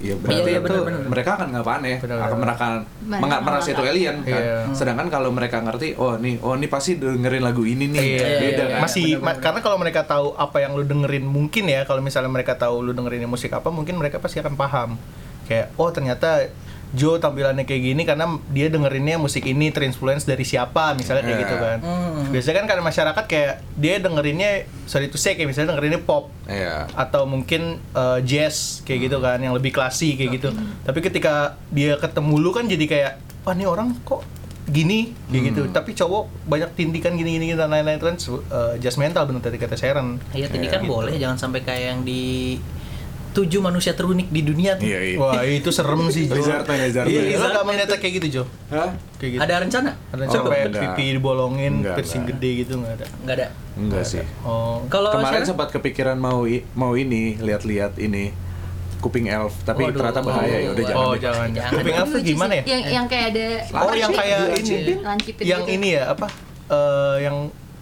Iya berarti Iya, iya, itu benar-benar. mereka akan nggak aneh, Benar-benar. akan mereka Mereka menga- merasa itu nggak alien kan. Iya. Sedangkan kalau mereka ngerti, oh nih, oh nih pasti dengerin lagu ini nih, Iya, beda iya, kan. masih ma- karena kalau mereka tahu apa yang lu dengerin mungkin ya kalau misalnya mereka tahu lu dengerin musik apa mungkin mereka pasti akan paham kayak oh ternyata Joe tampilannya kayak gini karena dia dengerinnya musik ini terinfluence dari siapa misalnya kayak Iya. gitu kan biasanya kan karena masyarakat kayak dia dengerinnya sorry to say kayak misalnya dengerinnya pop Iya. atau mungkin eh, jazz kayak gitu kan yang lebih klasik kayak gitu tapi ketika dia ketemu lu kan jadi kayak wah nih orang kok gini kayak gitu Hmm. tapi cowok banyak tindikan gini gini dan lain-lain itu kan se- eh, jazz mental bener tadi kata Sharon iya tadi Iya, kan gitu. boleh jangan sampai kayak yang di tujuh manusia terunik di dunia tuh Iya, iya. wah itu serem sih Jo Lizard ya, lizard iya ya. lo gak melihat kayak gitu Jo Hah? kayak gitu ada rencana ada Oh, sampai enggak. pipi dibolongin Enggak, piercing enggak. gede gitu nggak ada nggak ada Enggak sih. oh kalau Kemarin Sharon? sempat kepikiran mau i- mau ini, lihat-lihat ini kuping elf, tapi Waduh. ternyata bahaya ya Oh, udah jangan. oh deh. jangan Jangan. kuping elf tuh Lucu sih, Iya, gimana ya Yang yang kayak ada Oh yang kayak Lancipin. ini, Lancipin yang gitu. ini ya apa? Eh, yang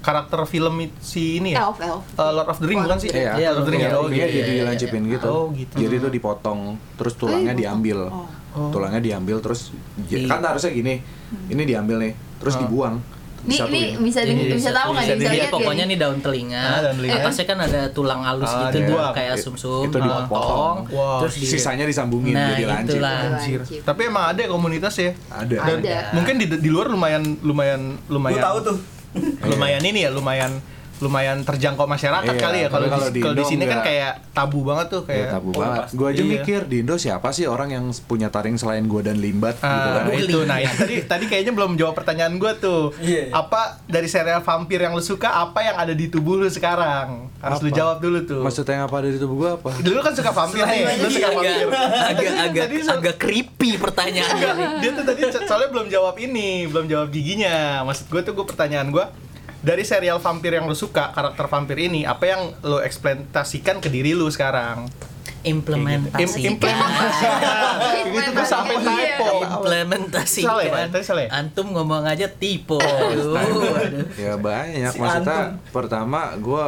karakter film it- si ini ya? Elf, elf. Eh, Lord of the Ring bukan sih? Iya, Lord of the Ring ya. kupingnya Oh gitu. jadi iya, iya. lancipin gitu. Oh, gitu. Jadi itu dipotong, terus tulangnya dipotong. diambil. Oh. Tulangnya diambil terus Di- kan harusnya gini. Ini diambil nih, terus dibuang. Nih, Hmm. ini Disatuin. bisa deng- Iya, bisa tahu kan ya? bisa bisa dilihat. lihat Jadi ya? pokoknya nih daun telinga, Ah, daun telinga. atasnya kan ada tulang halus Ah, gitu tuh, dibuang. kayak It- sumsum, itu dipotong. dipotong, Wah, terus di- Sisanya disambungin Nah, jadi lancip. itulah. Anjir. Tapi emang ada ya komunitas ya? Ada. Dan Ada. mungkin di, di luar lumayan lumayan lumayan Lu tahu tuh. lumayan ini ya lumayan lumayan terjangkau masyarakat Iya, kali ya kalau tapi kalau di, di kalau di Indo sini kan enggak. kayak tabu banget tuh Ya, kayak tabu oh, banget. pasti. Gue aja Iya. mikir di Indo siapa sih orang yang punya taring selain gue dan Limbat gitu kan? Ah, Peduli. itu nah ya, tadi tadi kayaknya belum jawab pertanyaan gue tuh Iya. apa dari serial vampir yang lu suka apa yang ada di tubuh lu sekarang harus lu Apa? jawab dulu tuh Maksudnya yang apa ada di tubuh gue apa? dulu kan suka vampir nih lu suka agak vampir agak agak, Tadi so- Iya. agak creepy Enggak, pertanyaannya. dia tuh tadi so- soalnya belum jawab ini belum jawab giginya maksud gue tuh gue pertanyaan gue dari serial vampir yang lu suka karakter vampir ini apa yang lu eksploitasikan ke diri lu sekarang Implementasi. Im- implementasikan Gitu itu tuh sampai Iya. typo implementasi Salah ya, Pak? Tadi salah ya? antum ngomong aja tipe Aduh, Oh, aduh. Ya banyak. Maksudnya pertama gue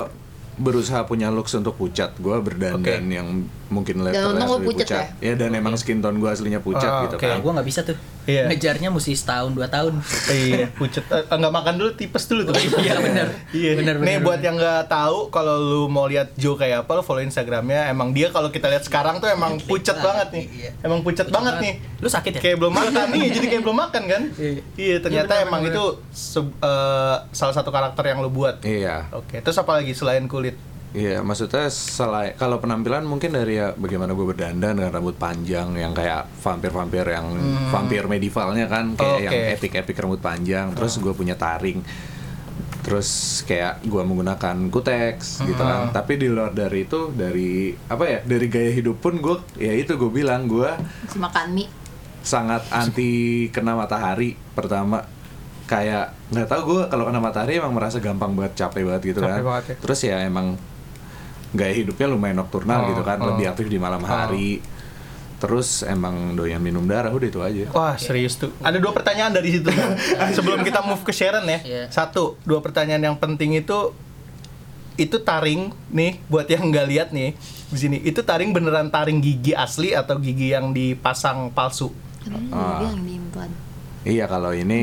berusaha punya looks untuk pucat. Gue berdandan Oke. Oh, iya. yang mungkin Dan letter untung lu asli pucat pucat. Ya, dan emang skin tone gue aslinya pucat Ah, gitu oke. Nah, kan. gua nggak bisa tuh Iya. ngejarnya mesti setahun dua tahun iya pucet Eh, nggak makan dulu tipes dulu tuh iya benar Iya. benar Nih benar buat yang nggak tahu kalau lu mau lihat Joe kayak apa lu follow Instagramnya. Emang dia kalau kita lihat sekarang tuh emang pucat banget nih. Iya. Emang pucat banget nih. lu sakit ya Kayak belum makan nih, jadi kayak belum makan kan? Iya. Iya, ternyata Iya, benar, emang benar, itu se- eh, salah satu karakter yang lu buat. Iya. Oke, terus apa lagi selain kulit? Iya, maksudnya selai kalau penampilan mungkin dari ya bagaimana gue berdandan dengan rambut panjang yang kayak vampir-vampir yang vampir medievalnya kan kayak Oke. yang epic-epic rambut panjang, terus gue punya taring. Terus kayak gue menggunakan kuteks gitu kan. Tapi di luar dari itu dari apa ya? Dari gaya hidup pun gue ya itu gue bilang gue Masih makan mie. sangat anti kena matahari pertama kayak nggak tahu gue kalau kena matahari emang merasa gampang banget capek banget gitu Capek kan banget ya. terus ya emang gaya hidupnya lumayan Oh, nokturnal gitu kan lebih aktif di malam hari terus emang doyan minum darah udah itu aja Wah, serius tuh. Ada dua pertanyaan dari situ. Sebelum kita move ke Sharon ya. Iya. Satu, dua pertanyaan yang penting itu itu taring nih buat yang nggak lihat nih di sini. Itu taring beneran taring gigi asli atau gigi yang dipasang palsu? Ah. Emang dia bilang di implan. Iya. iya kalau ini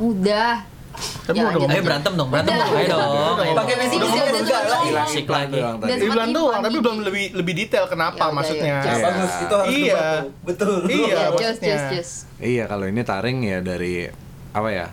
Udah. Ya, Tapi mau Jangan, dong. jangan. Ayo berantem dong, berantem dong. Ayo dong. ayo Pakai Iya. dong. mesin Udah, udah, udah enggak udah, lah. udah. hilang. Asik lagi. doang Dan tadi. Dia bilang Seperti doang, Bang tapi Didi. belum lebih lebih detail kenapa Ya, udah, maksudnya. ya. Nah, Iya. bagus itu harus Iya. debat tuh. Betul. Iya, Just, maksudnya. just, just. Iya, kalau ini taring ya dari apa ya?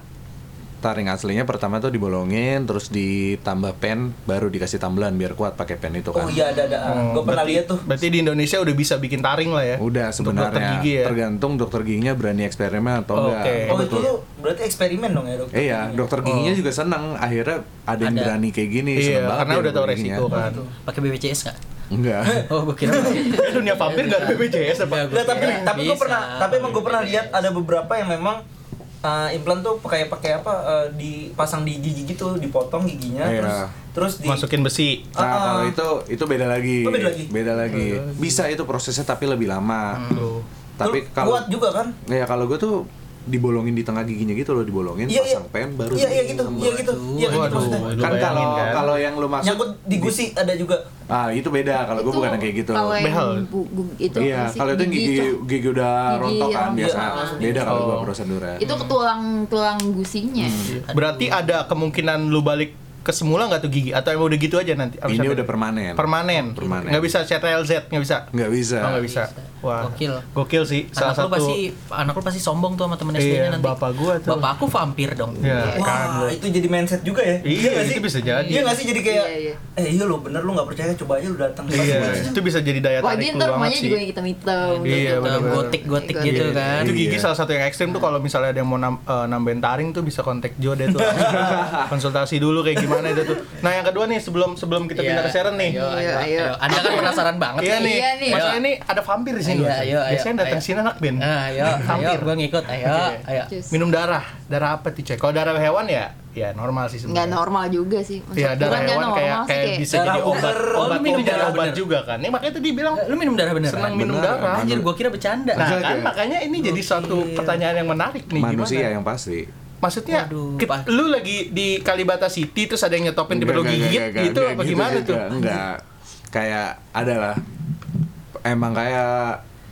Taring aslinya pertama tuh dibolongin, terus ditambah pen, baru dikasih tambelan biar kuat pakai pen itu Oh kan. iya ada ada. Gue pernah lihat tuh. Hmm, Berarti di Indonesia udah bisa bikin taring lah ya. Udah Untuk dokter sebenarnya gigi ya. tergantung dokter giginya berani eksperimen atau enggak. Oke. Oh itu Betul. tuh berarti eksperimen dong ya dokter. Iya, dokter giginya juga seneng akhirnya ada yang Ada. berani kayak gini, seneng Iya, banget karena ya udah tahu dokter giginya. resiko kan. Pakai BPJS nggak? Enggak. Oh, gue kira. Eh, dunia vampir gak ada BPJS apa? Nggak, tapi Iya. Bisa. tapi gue pernah tapi emang gue pernah lihat ada beberapa yang memang uh, implan tuh pakai pakai apa uh, dipasang di gigi gitu dipotong giginya Iya. terus terus di Masukin besi. Nah, kalau itu itu beda lagi. Oh, beda lagi? lagi. Bisa itu prosesnya tapi lebih lama. Tapi Lu kalau kuat juga kan ya kalau gue tuh dibolongin di tengah giginya gitu loh, dibolongin iya iya pasang pen baru. iya iya gitu ditambah. iya gitu iya gitu Waduh, maksudnya lu Kan bayangin kalau kan. kalau yang lu maksud nyangkut di gusi ada juga ah itu beda kalau gue Itu bukan yang kayak gitu. Kalau yang Behel. bu- bu- itu Iya, apa sih? kalau itu yang gigi gigi udah Gigi rontok kan rontok. biasa. Iya. Beda kalau gue Oh. prosedurnya. Itu ke tulang-tulang gusinya. Hmm. Iya, Berarti ada kemungkinan lu balik ke semula nggak tuh gigi atau emang udah gitu aja nanti? Abis Ini sampai- udah permanen. Permanen. Permanen. Nggak bisa CTLZ, nggak bisa. Nggak bisa. Oh, nggak bisa. Wah. Gokil. Gokil sih. anak Salah lu satu. pasti anak lu pasti sombong tuh sama temen SD Iya, nya nanti. bapak gua tuh. Bapak aku vampir dong. Ya, kan wah lu. itu jadi mindset juga ya Iya, nggak itu bisa jadi. iya nggak sih jadi kayak Iya, iya. eh iya lo bener lo nggak percaya coba aja lo datang Iya, itu bisa jadi daya Wah, tarik dia lu ntar banget rumahnya sih. juga yang hitam-hitam. Iya, Gitu. bener-bener. Gotik-gotik Iya. gitu Iya, kan. Itu gigi Iya. salah satu yang ekstrim tuh kalau misalnya ada yang mau nam- eh, nambahin taring tuh bisa kontak Joe deh tuh. Konsultasi dulu kayak gimana itu tuh. Nah, yang kedua nih sebelum sebelum kita Iya, pindah ke Sharon nih. Ayo, ayo, Iya, ayo. ayo. Anda kan penasaran banget Iya nih. nih, Iya nih. masalahnya ini ada vampir di sini. Ayo, loh. Iya, ayo, ayo. Biasanya datang Ayo. sini anak band. Nah, ayo, ayo, Vampir. gua ngikut. Ayo, Oke. ayo. Just- Minum darah. Darah apa tuh, Cek? Kalau darah hewan ya, ya normal sih nggak sebenarnya. normal juga sih. Iya, Maksud- bukan darah nggak hewan kayak normal sih, kayak bisa Darah jadi obat. ular. Oh, Obat lu minum jadi darah obat bener. juga kan. Ini makanya tadi bilang Eh, Lu minum darah beneran? senang minum bener. darah. Anjir, gua kira bercanda. Nah, Oke. kan makanya ini jadi suatu pertanyaan yang menarik nih Manusia gimana? yang pasti. Maksudnya Waduh, kit- pas- lu lagi di Kalibata City terus ada yang nyetopin tiba lu Enggak, enggak, gigit enggak, enggak, gitu enggak apa gitu gimana juga. tuh? Enggak. Kayak adalah emang kayak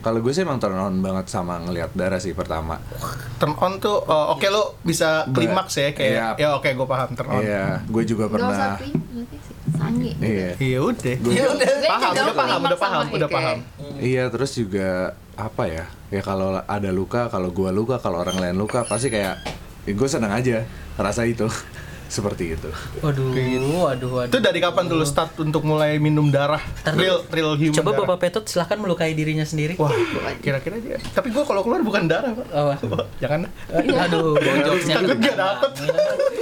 kalau gue sih emang turn on banget sama ngelihat darah sih pertama. Turn on tuh uh, oke lu bisa Ba- klimaks ya kayak Iya. ya oke gua paham turn on. Iya, gue juga Nggak usah pernah. ping, nanti sih. sange. Iya. Iya udah. ya udah Juga Paham, udah paham, klimaks udah paham, sama udah kayak- paham. Iya, terus juga apa ya? Ya kalau ada luka, kalau gue luka, kalau orang lain luka pasti kayak gue seneng aja rasa itu. Seperti itu. Waduh, waduh, waduh. Itu dari kapan tuh lu start untuk mulai minum darah? Ntar dulu. Real real human. Coba darah. Bapak Petut silahkan melukai dirinya sendiri. Wah, kira-kira dia. Tapi gua kalau keluar bukan darah, Pak. Oh, Eh, Wah, Jangan. aduh, bojoknya. Takut gak dapet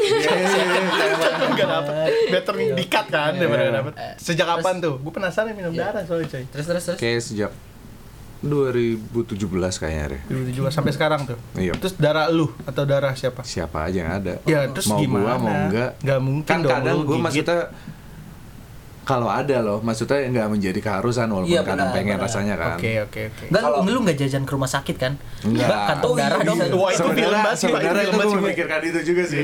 Iya, Takut gak dapet Better dikat kan daripada gak dapet Iya. Sejak kapan tuh? Gue penasaran minum darah soalnya coy Terus, terus, terus. Kayak sejak 2017 kayaknya deh. 2017 sampai sekarang tuh Iya. Terus darah lu atau darah siapa? Siapa aja yang ada. Ya terus mau gimana? gua mau enggak Gak mungkin kan dong kadang lu gue gigit. maksudnya kalau ada loh maksudnya nggak menjadi keharusan walaupun Iya, kadang benar, pengen benar. rasanya kan Oke oke oke Enggak, Kalau- lu, lu nggak jajan ke rumah sakit kan? Enggak. Mbak, kantong Oh, iya, darah bisa. dong. Wah itu film sebenarnya banget sih Pak Itu sebenarnya itu film gue banget sih, memikirkan itu juga sih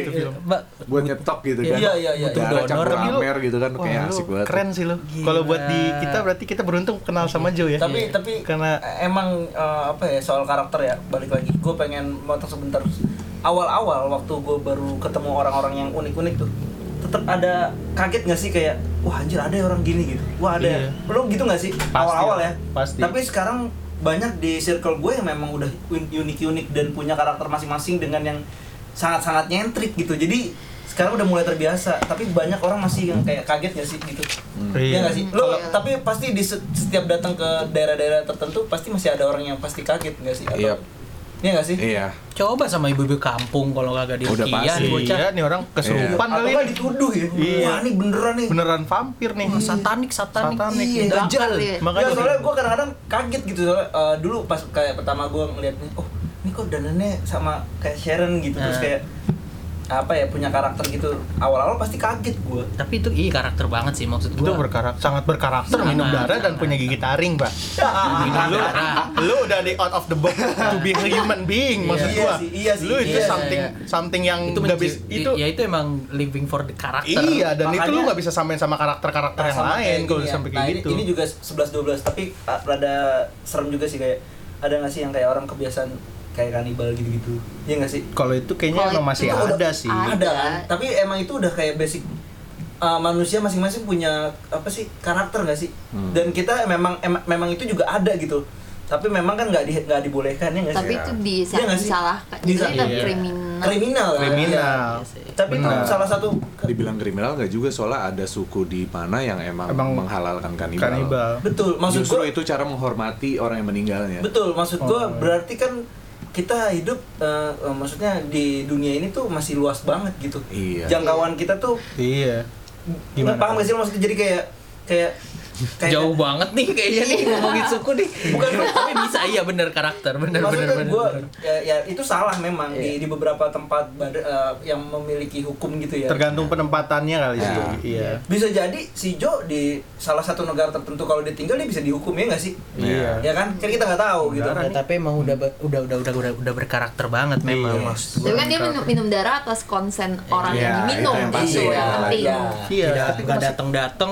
Mbak, buat nyetok gitu kan Iya, iya, iya, Butuh iya. darah campur Tapi lu- amer gitu kan Wah, kayak lu asik banget Iya, Keren sih lu Kalau buat di kita berarti kita beruntung kenal sama Joe ya tapi Iya. tapi Karena emang eh, apa ya soal karakter ya balik lagi gue pengen motong sebentar awal-awal waktu gue baru ketemu orang-orang yang unik-unik tuh tetap ada kaget nggak sih kayak wah anjir ada ya orang gini gitu wah ada ya. Iya. lo gitu nggak sih Pasti awal-awal lah, ya pasti. tapi sekarang banyak di circle gue yang memang udah un- unik-unik dan punya karakter masing-masing dengan yang sangat-sangat nyentrik gitu jadi sekarang udah mulai terbiasa tapi banyak orang masih yang kayak kaget nggak sih gitu Iya nggak sih? Lo, Kalau- tapi pasti di se- setiap datang ke daerah-daerah tertentu pasti masih ada orang yang pasti kaget nggak sih? Atau, Iya. Iya nggak sih? iya coba sama ibu-ibu kampung kalau kagak di Udah Rukian, pasti. bocah. Iya nih orang kesurupan Atau kali nggak ini. dituduh ya? Iya. Wah ini beneran nih. Beneran vampir nih Satanik, satanik. Satanik. Iya, Iya, Dajjal. kali ya. Makanya Nggak, soalnya gue kadang-kadang kaget gitu soalnya eh, dulu pas kayak pertama gue ngeliatnya, oh ini kok dandannya sama kayak Sharon gitu terus Nah. kayak apa ya punya karakter gitu awal-awal pasti kaget gue. Tapi itu iya karakter banget sih maksud itu gua. berkarakter sangat berkarakter Sangat. minum darah dan punya gigi taring pak Ah, lu lu udah di out of the box to be a human being maksud Iya gua sih, iya sih, lu itu iya, something iya. something itu yang nggak menci- bisa itu ya itu emang living for the karakter. iya dan itu lu Makanya- nggak bisa samain sama karakter karakter yang Sama lain kayak kalau gini ya. sampai kayak Nah, ini- gitu Ini, juga 11 12 tapi ah, rada serem juga sih kayak ada nggak sih yang kayak orang kebiasaan kayak kanibal gitu-gitu. Iya nggak sih? Kalau itu Kalau kayaknya emang itu masih Itu udah- ada sih. Ada kan? Tapi emang itu udah kayak basic uh, manusia masing-masing punya apa sih karakter nggak sih? Dan kita memang em- memang itu juga ada gitu. Tapi memang kan nggak di, nggak dibolehkan ya nggak sih? tapi itu bisa Iya nggak sih? disalahkan jadi Bisa- itu kan iya. kriminal Kriminal. kan? Kriminal. Iya. Tapi Benar. itu salah satu Dibilang kriminal nggak juga soalnya ada suku di mana yang emang, Emang menghalalkan kanibal. Kanibal. betul maksud gua- Justru itu ya. cara menghormati orang yang meninggalnya. Betul, maksud gua berarti kan kita hidup eh, eh, maksudnya di dunia ini tuh masih luas banget gitu. Iya. Jangkauan kita tuh Iya. nggak paham gak sih lo maksudnya jadi kayak kayak kayak Jauh banget nih kayaknya nih ngomongin suku nih. Bukan, tapi bisa iya bener karakter, bener bener Maksudnya bener. gua bener. Iya. ya, ya itu salah memang di, di beberapa tempat bad- eh, yang memiliki hukum gitu ya. Tergantung penempatannya kali sih. Nah. Iya. Bisa jadi si Jo di salah satu negara tertentu kalau ditinggal dia bisa dihukum ya nggak sih? Iya. Ya kan? Kan kita nggak tahu gitu. Ya, tapi emang udah be- udah udah udah udah, udah berkarakter banget Iya. Iya. memang maksud gua. tapi kan dia minum, minum darah atas konsen orang Iya, yang diminum itu yang pasti, gitu iya. yang penting Iya. Iya. Tidak Tapi nggak datang datang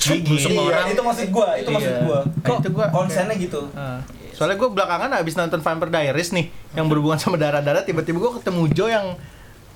Gigi. semua Iya, orang. itu maksud gua, itu maksud Iya. gua. Nah, itu gua- konsennya gitu. Ah. Soalnya gue belakangan abis nonton Vampire Diaries nih Yang berhubungan sama darah-darah Tiba-tiba gue ketemu Joe yang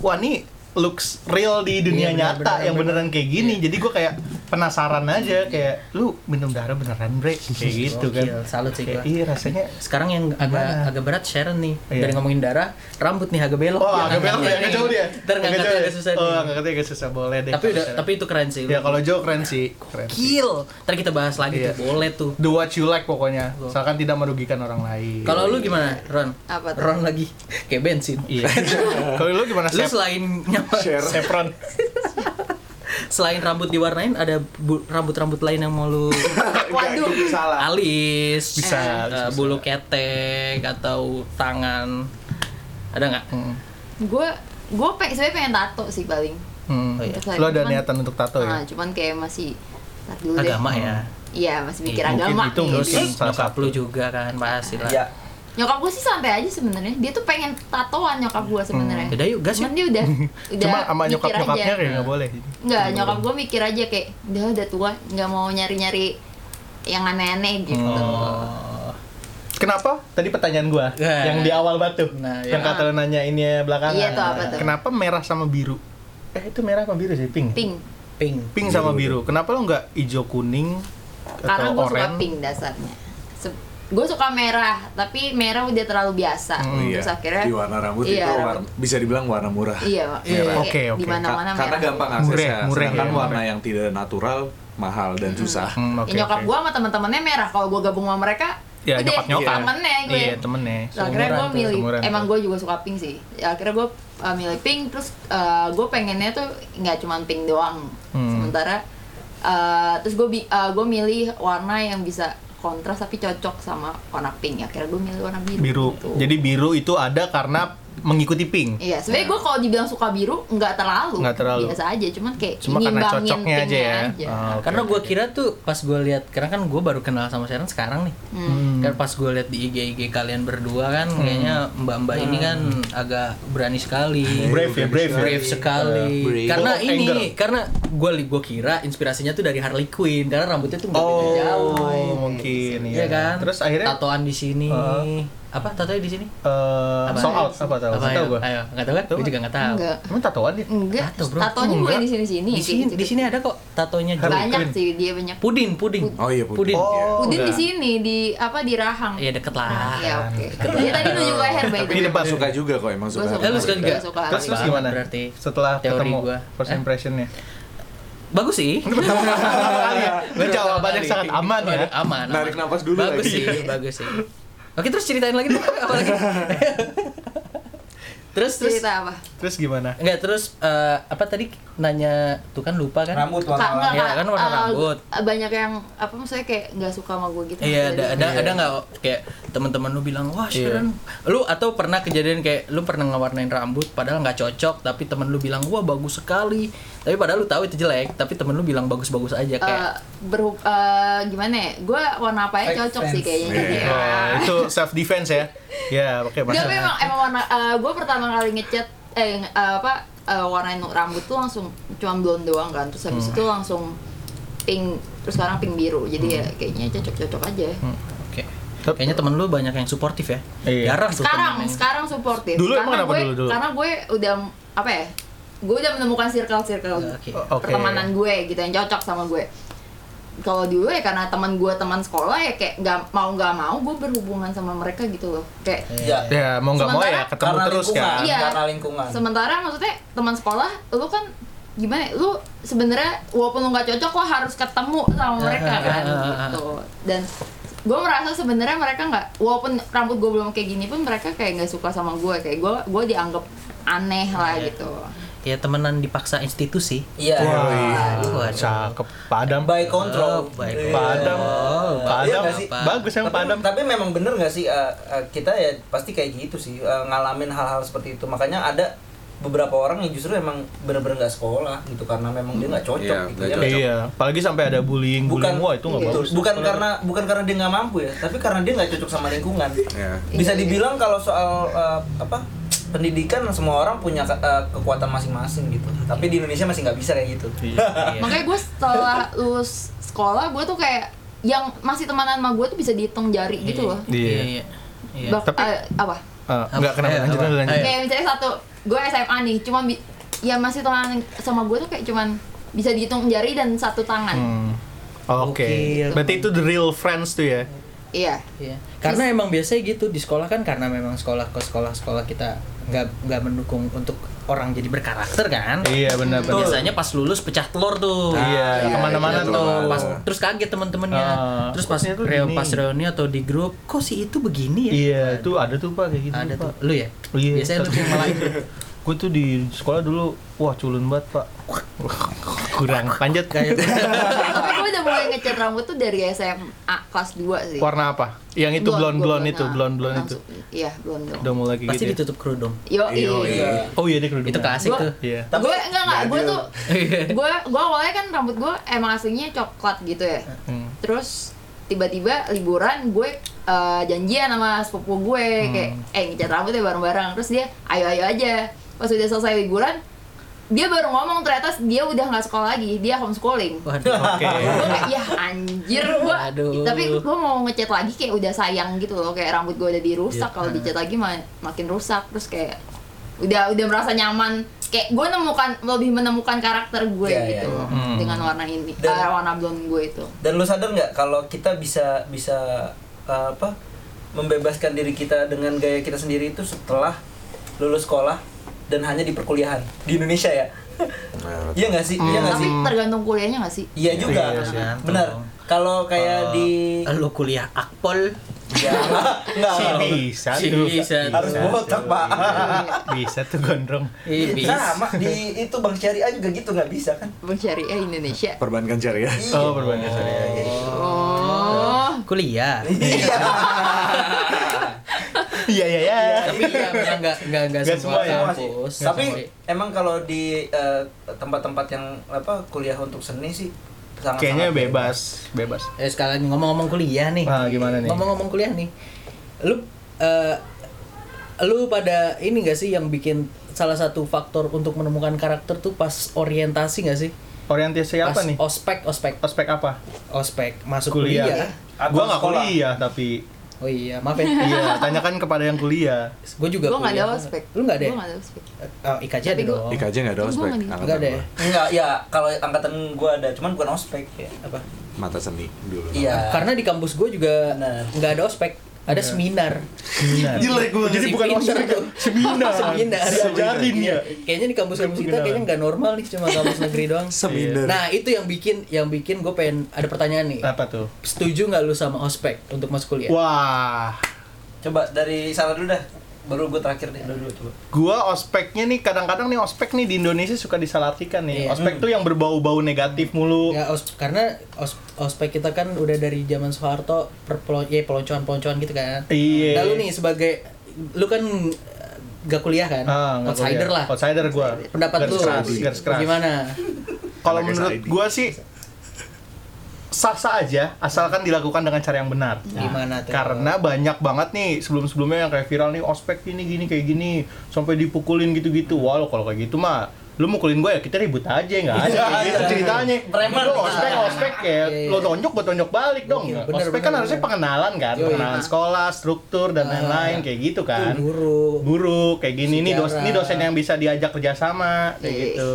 Wah ini looks real di Iya, dunia benar, nyata benar, Yang beneran kayak Iya. gini Jadi gue kayak penasaran aja Kayak lu minum darah beneran bre Kayak gitu kan Gokil, salut sih gua. Kayak, Iya rasanya Sekarang yang agak agak berat Sharon nih Iya. dari ngomongin darah, rambut nih agak belok. Oh agak belok ya, agak jauh dia Iya, Ntar ngangkatnya jauh agak ya? susah. Oh nih. ngangkatnya agak susah, boleh deh tapi kalau udah Sharon. tapi itu keren sih. Ya kalau Joe keren sih keren sih. Gokil. Ntar kita bahas lagi Iya. tuh, boleh tuh. Do what you like pokoknya Misalkan tidak merugikan orang lain Kalau lu gimana, Ron? Apa tuh? Ron lagi kayak bensin. Iya Kalau lu gimana Lu Sep? selain nyapa, Sepron selain rambut diwarnain ada bu- rambut-rambut lain yang mau lu waduh gitu, alis, Bisa, eh, alis bisa. bulu ketek atau tangan. Ada nggak? Hmm. gue gue pengen sebenarnya pengen tato sih paling Hmm. Oh, iya. Lo ada Cuman- niatan untuk tato Ah, ya? cuman kayak masih ntar dulu deh. Agama ya. iya masih mikir Iya, mungkin agama itu nih, mungkin. gitu. Terus salah nyokap satu. lu juga kan pasti lah. Iya. Ya, nyokap gue sih santai aja sebenarnya dia tuh pengen tatoan nyokap gue sebenarnya Yaudah yuk, gas cuman yuk. dia udah udah Cuma sama mikir nyokap nyokapnya ya? aja. kayak Ah. nggak boleh. nggak nyokap gue mikir aja kayak udah udah tua nggak mau nyari nyari yang aneh-aneh gitu Oh. Kenapa? Tadi pertanyaan gua Ya. yang di awal batu, Nah, yang ya. kata lo nanya ini ya belakangan. Iya, tuh apa tuh? Kenapa merah sama biru? Eh itu merah sama biru sih, pink. pink Pink. Pink sama biru. Kenapa lo nggak hijau kuning karena atau gue suka oranye? pink dasarnya gue suka merah tapi merah udah terlalu biasa Oh, Hmm, iya. terus akhirnya Di warna rambut Iya, itu warna- rambut. bisa dibilang warna murah. iya Merah. Oke, oke. di mana mana Ka- karena merah gampang Murah, aksesnya. murah sedangkan ya, warna murah. yang tidak natural mahal dan susah. Hmm, Ya, oke, nyokap oke. gue sama teman-temannya merah kalau gue gabung sama mereka Ya, udah nyokap nyokap. temennya ya. gue Iya, temennya. Terus Nah, akhirnya gue Seumuran tuh, milih seumuran emang tuh. gue juga suka pink sih Ya, akhirnya gue uh, milih pink terus uh, gue pengennya tuh nggak cuma pink doang Hmm. sementara uh, terus gue bi- uh, gue milih warna yang bisa kontras tapi cocok sama warna pink Ya, akhirnya gue milih warna biru biru. Gitu. Jadi biru itu ada karena mengikuti pink. Iya, sebenarnya gue kalau dibilang suka biru nggak terlalu, Nggak terlalu. biasa aja, cuman kayak Cuma karena ngimbangin cocoknya aja pinknya ya. Ah, oke, Karena gue oke. kira tuh pas gue lihat karena kan gue baru kenal sama Sharon sekarang nih. Hmm. Kan pas gue lihat di IG IG kalian berdua kan kayaknya mbak-mbak ini kan Hmm. agak berani sekali. Brave ya, brave. ya. Brave sekali. Eh, Brave. Karena Full of ini anger. karena gue gue kira inspirasinya tuh dari Harley Quinn karena rambutnya tuh nggak beda jauh. Oh, mungkin Iya kan? Terus akhirnya tatoan di sini. Heeh. Apa tatoan di sini? eh Apa? ya? sold out apa tahu? Apa Nggak ayo? Tahu gua. Ayo, enggak tahu kan? Gue juga enggak tahu. Enggak. Emang tatoan dia? Enggak, Tato, bro. tatonya bukan di sini-sini. Di sini, kayak di sini ada kok tatonya gitu. juga. banyak Queen. sih dia banyak. Pudin, pudin. Oh iya pudin. Pudin. Iya. Udin di udah. sini di apa di Rahang. Iya deket lah. Iya, oke. Dia tadi nunjuk leher by Tapi the way. depan suka juga kok emang Gua suka. suka. Eh, lu suka juga? Suka. Terus terus Banget gimana? berarti. Setelah Teori ketemu gua. first Eh? impressionnya. Bagus sih. Ini jawabannya Kali. sangat aman ya. Waduh, Aman. Narik aman. nafas dulu Bagus lagi. sih, bagus sih. Oke, terus ceritain lagi dong. Apa lagi? terus terus Cerita apa? Terus gimana? Enggak, terus eh, apa tadi nanya tuh kan lupa kan? rambut warna Kak, enggak, Iya, Kak. kan warna Eh, rambut. Banyak yang apa maksudnya kayak nggak suka sama gue gitu. Iya, ada ada ada nggak kayak teman-teman lu bilang wah Sharon, lu atau pernah kejadian kayak lu pernah ngewarnain rambut padahal nggak cocok tapi teman lu bilang wah bagus sekali tapi padahal lu tahu itu jelek tapi temen lu bilang bagus-bagus aja Eh, kayak berhub- eh, gimana ya? Gue warna apa ya Fake cocok sih fans. kayaknya. Jadi, Iya. Oh, itu self defense ya. Ya, oke Enggak, Mas. tapi emang emang warna gue pertama kali ngecat eh nge- eh, apa eh, warnain rambut tuh langsung cuma blonde doang kan. Terus Hmm. habis itu Hmm. langsung pink terus sekarang pink biru. Jadi ya kayaknya cocok-cocok aja. oke Tapi- Kayaknya temen lu banyak yang suportif ya. Iya. Jarang tuh sekarang temen yang- sekarang supportive Dulu emang karena kenapa gue, dulu, dulu? karena gue udah apa ya gue udah menemukan circle circle Oke. Oke. pertemanan gue gitu yang cocok sama gue kalau dulu ya karena teman gue teman sekolah ya kayak nggak mau nggak mau gue berhubungan sama mereka gitu loh kayak Ya, Ya mau nggak mau Sementara- ya ketemu Karena terus lingkungan. kan. Iya. karena lingkungan. Sementara maksudnya teman sekolah, lu kan gimana? ya, Lu sebenarnya walaupun lu nggak cocok, lo harus ketemu sama mereka ah, kan ah, ah. gitu. Dan gue merasa sebenarnya mereka nggak, walaupun rambut gue belum kayak gini pun mereka kayak nggak suka sama gue. Kayak gue, gue dianggap aneh lah gitu. Ya temenan dipaksa institusi. Iya. Waduh. Cakep padam. By control. Oh, by Iya. Padam. Padam. nggak sih? Bagus yang tapi, Padam. tapi memang bener nggak sih eh, eh, kita ya pasti kayak gitu sih eh, ngalamin hal-hal seperti itu makanya ada beberapa orang yang justru emang bener-bener nggak sekolah gitu karena memang dia nggak cocok Iya, gitu nggak ya. cocok. Iya, apalagi sampai ada bullying, bukan bullying wah itu nggak Iya. betul. bagus. bukan karena bukan karena dia nggak mampu ya tapi karena dia nggak cocok sama lingkungan Iya. bisa Iya, iya. dibilang kalau soal eh, apa pendidikan semua orang punya ke- eh, kekuatan masing-masing gitu tapi di Indonesia masih nggak bisa kayak gitu Iya. Makanya gue setelah lulus sekolah, gue tuh kayak yang masih temanan sama gue tuh bisa dihitung jari gitu loh. Iya. Iya. Iya. Iya. Bak- Tapi- eh, apa? Ah, Eh, Nggak kenapa Eh, lanjut apa? Iya. lanjut. Eh. Kayak misalnya satu, gue SMA nih, cuman bi- ya masih teman sama gue tuh kayak cuman bisa dihitung jari dan satu tangan. Hmm. Oke. Oke. Berarti itu the real friends tuh ya. Iya. Iya. Karena emang biasanya gitu di sekolah kan karena memang sekolah ke sekolah sekolah kita nggak nggak mendukung untuk orang jadi berkarakter kan. Iya benar benar. Biasanya pas lulus pecah telur tuh. Iya, Iya, kemana-mana iya, tuh. kemana-mana. Pas, terus kaget teman-temannya. Ah, terus kok pas ternyata reo, gini? pas reuni atau di grup, kok si itu begini ya? Iya, itu ada tuh Pak kayak gitu. Ada Pak. tuh. Lu ya? Iya. Biasanya lu yang malah itu. Gue tuh di sekolah dulu, wah culun banget Pak. Kurang panjat kayak Tapi gue udah mulai ngecat rambut tuh dari SMA kelas 2 sih. warna apa? Yang itu blonde blonde itu, Ah, nah, blonde blonde itu. langsung- Iya, blonde dong. Udah mulai kayak Pasti gitu. ya. ditutup kerudung. Yo, Iya. iya. Oh iya dia kerudung. Itu klasik Gua- tuh. Iya. Tapi- gue enggak enggak, gue Nggak tuh gue gue awalnya kan rambut gue emang aslinya coklat gitu ya. Terus tiba-tiba liburan gue eh, janjian sama sepupu gue kayak eh ngecat rambutnya bareng-bareng. Terus dia ayo ayo aja. Pas udah selesai liburan dia baru ngomong ternyata dia udah nggak sekolah lagi, dia homeschooling. Waduh. Oke. gue kayak ya anjir gue Aduh. tapi gue mau ngecat lagi kayak udah sayang gitu loh kayak rambut gue udah dirusak kalau dicat lagi ma- makin rusak terus kayak udah udah merasa nyaman kayak gue nemukan lebih menemukan karakter gue Iya, gitu iya. loh Hmm. dengan warna ini Dan- eh, warna blonde gue itu Dan lu sadar nggak kalau kita bisa bisa uh, apa membebaskan diri kita dengan gaya kita sendiri itu setelah lulus sekolah dan hanya di perkuliahan di Indonesia ya? Nah, Iya nggak sih? Iya nggak tapi sih? tergantung kuliahnya gak sih Iya juga. Iya, sih. Eh, Benar. Kalau kayak di Lu kuliah akpol. ya, nggak Si nggak. bisa Si tuh. Iya, bisa tuh. harus botak pak. Bisa tuh gondrong. Ih, bisa. Sama di itu Bang Syariah juga gitu nggak bisa kan? Bang Syariah Indonesia Perbankan syariah. Oh berbanding saya. oh Kuliah. Iya. Iya iya iya. tapi ya memang nggak nggak nggak Nggak semua semua ya. kampus Nggak Tapi semua. emang kalau di eh, tempat-tempat yang apa kuliah untuk seni sih sangat Kayaknya bebas, bebas. eh sekalian ngomong-ngomong kuliah nih Ah, gimana nih? ngomong-ngomong kuliah nih lu eh, lu pada ini nggak sih yang bikin salah satu faktor untuk menemukan karakter tuh pas orientasi nggak sih Orientasi pas apa nih? ospek ospek Ospek apa? ospek masuk kuliah, Kuliah. Atau Gua nggak sekolah. kuliah tapi oh iya maaf ya iya, tanyakan kepada yang kuliah. gue juga gue nggak ada kuliah. ospek lu nggak ada gue ya? nggak ada ospek oh, IKJ ada Tapi gua- dong IKJ nggak ada Gua ospek. nggak di- angkatan nggak ada ya gua. Enggak, ya kalau angkatan gua ada, cuman bukan ospek. ya, apa Mata seni dulu. Iya. karena di kampus gue juga Benar. nggak ada ospek ada seminar Seminar. Jelek gue. jadi bukan ospek Seminar. Seminar. Diajarin ya. kayaknya di kampus-kampus kita Kemungkinan. kayaknya nggak normal nih cuma kampus negeri Iya. doang Seminar. nah itu yang bikin yang bikin gue pengen ada pertanyaan nih Apa tuh? setuju nggak lu sama ospek untuk masuk Iya. kuliah Wah, Coba dari Sarah dulu dah. Baru gua terakhir deh dulu, dulu coba. gua ospeknya nih kadang-kadang nih ospek nih di Indonesia suka disalahartikan nih. Iya. Ospek tuh yang berbau-bau negatif mulu. Ya, os- karena os- ospek kita kan udah dari zaman Soeharto perpelon ya peloncoan-peloncoan gitu kan Iya. lalu nih sebagai lu kan eh, nggak kuliah kan Ah, nggak outsider kuliah. lah Outsider gua. pendapat Garis lu keras, garis keras. gimana Kalau Anaknya menurut Saidi. gua sih sah-sah aja asalkan dilakukan dengan cara yang benar. gimana tuh Nah, Karena banyak banget nih sebelum-sebelumnya yang kayak viral nih ospek ini gini kayak gini sampai dipukulin gitu-gitu. Wah, lo kalau kayak gitu mah lu mukulin gue ya kita ribut aja nggak ada kayak gitu ceritanya Preman. lu ospek ospek kayak Iya, iya. lo tonjok gue tonjok balik dong Gokil, bener, ospek bener, kan harusnya bener. pengenalan kan Yoi. pengenalan sekolah struktur dan lain-lain kayak gitu Ah, kan guru guru kayak gini ini dosen Sejarah. ini dosen yang bisa diajak kerjasama kayak Iya. gitu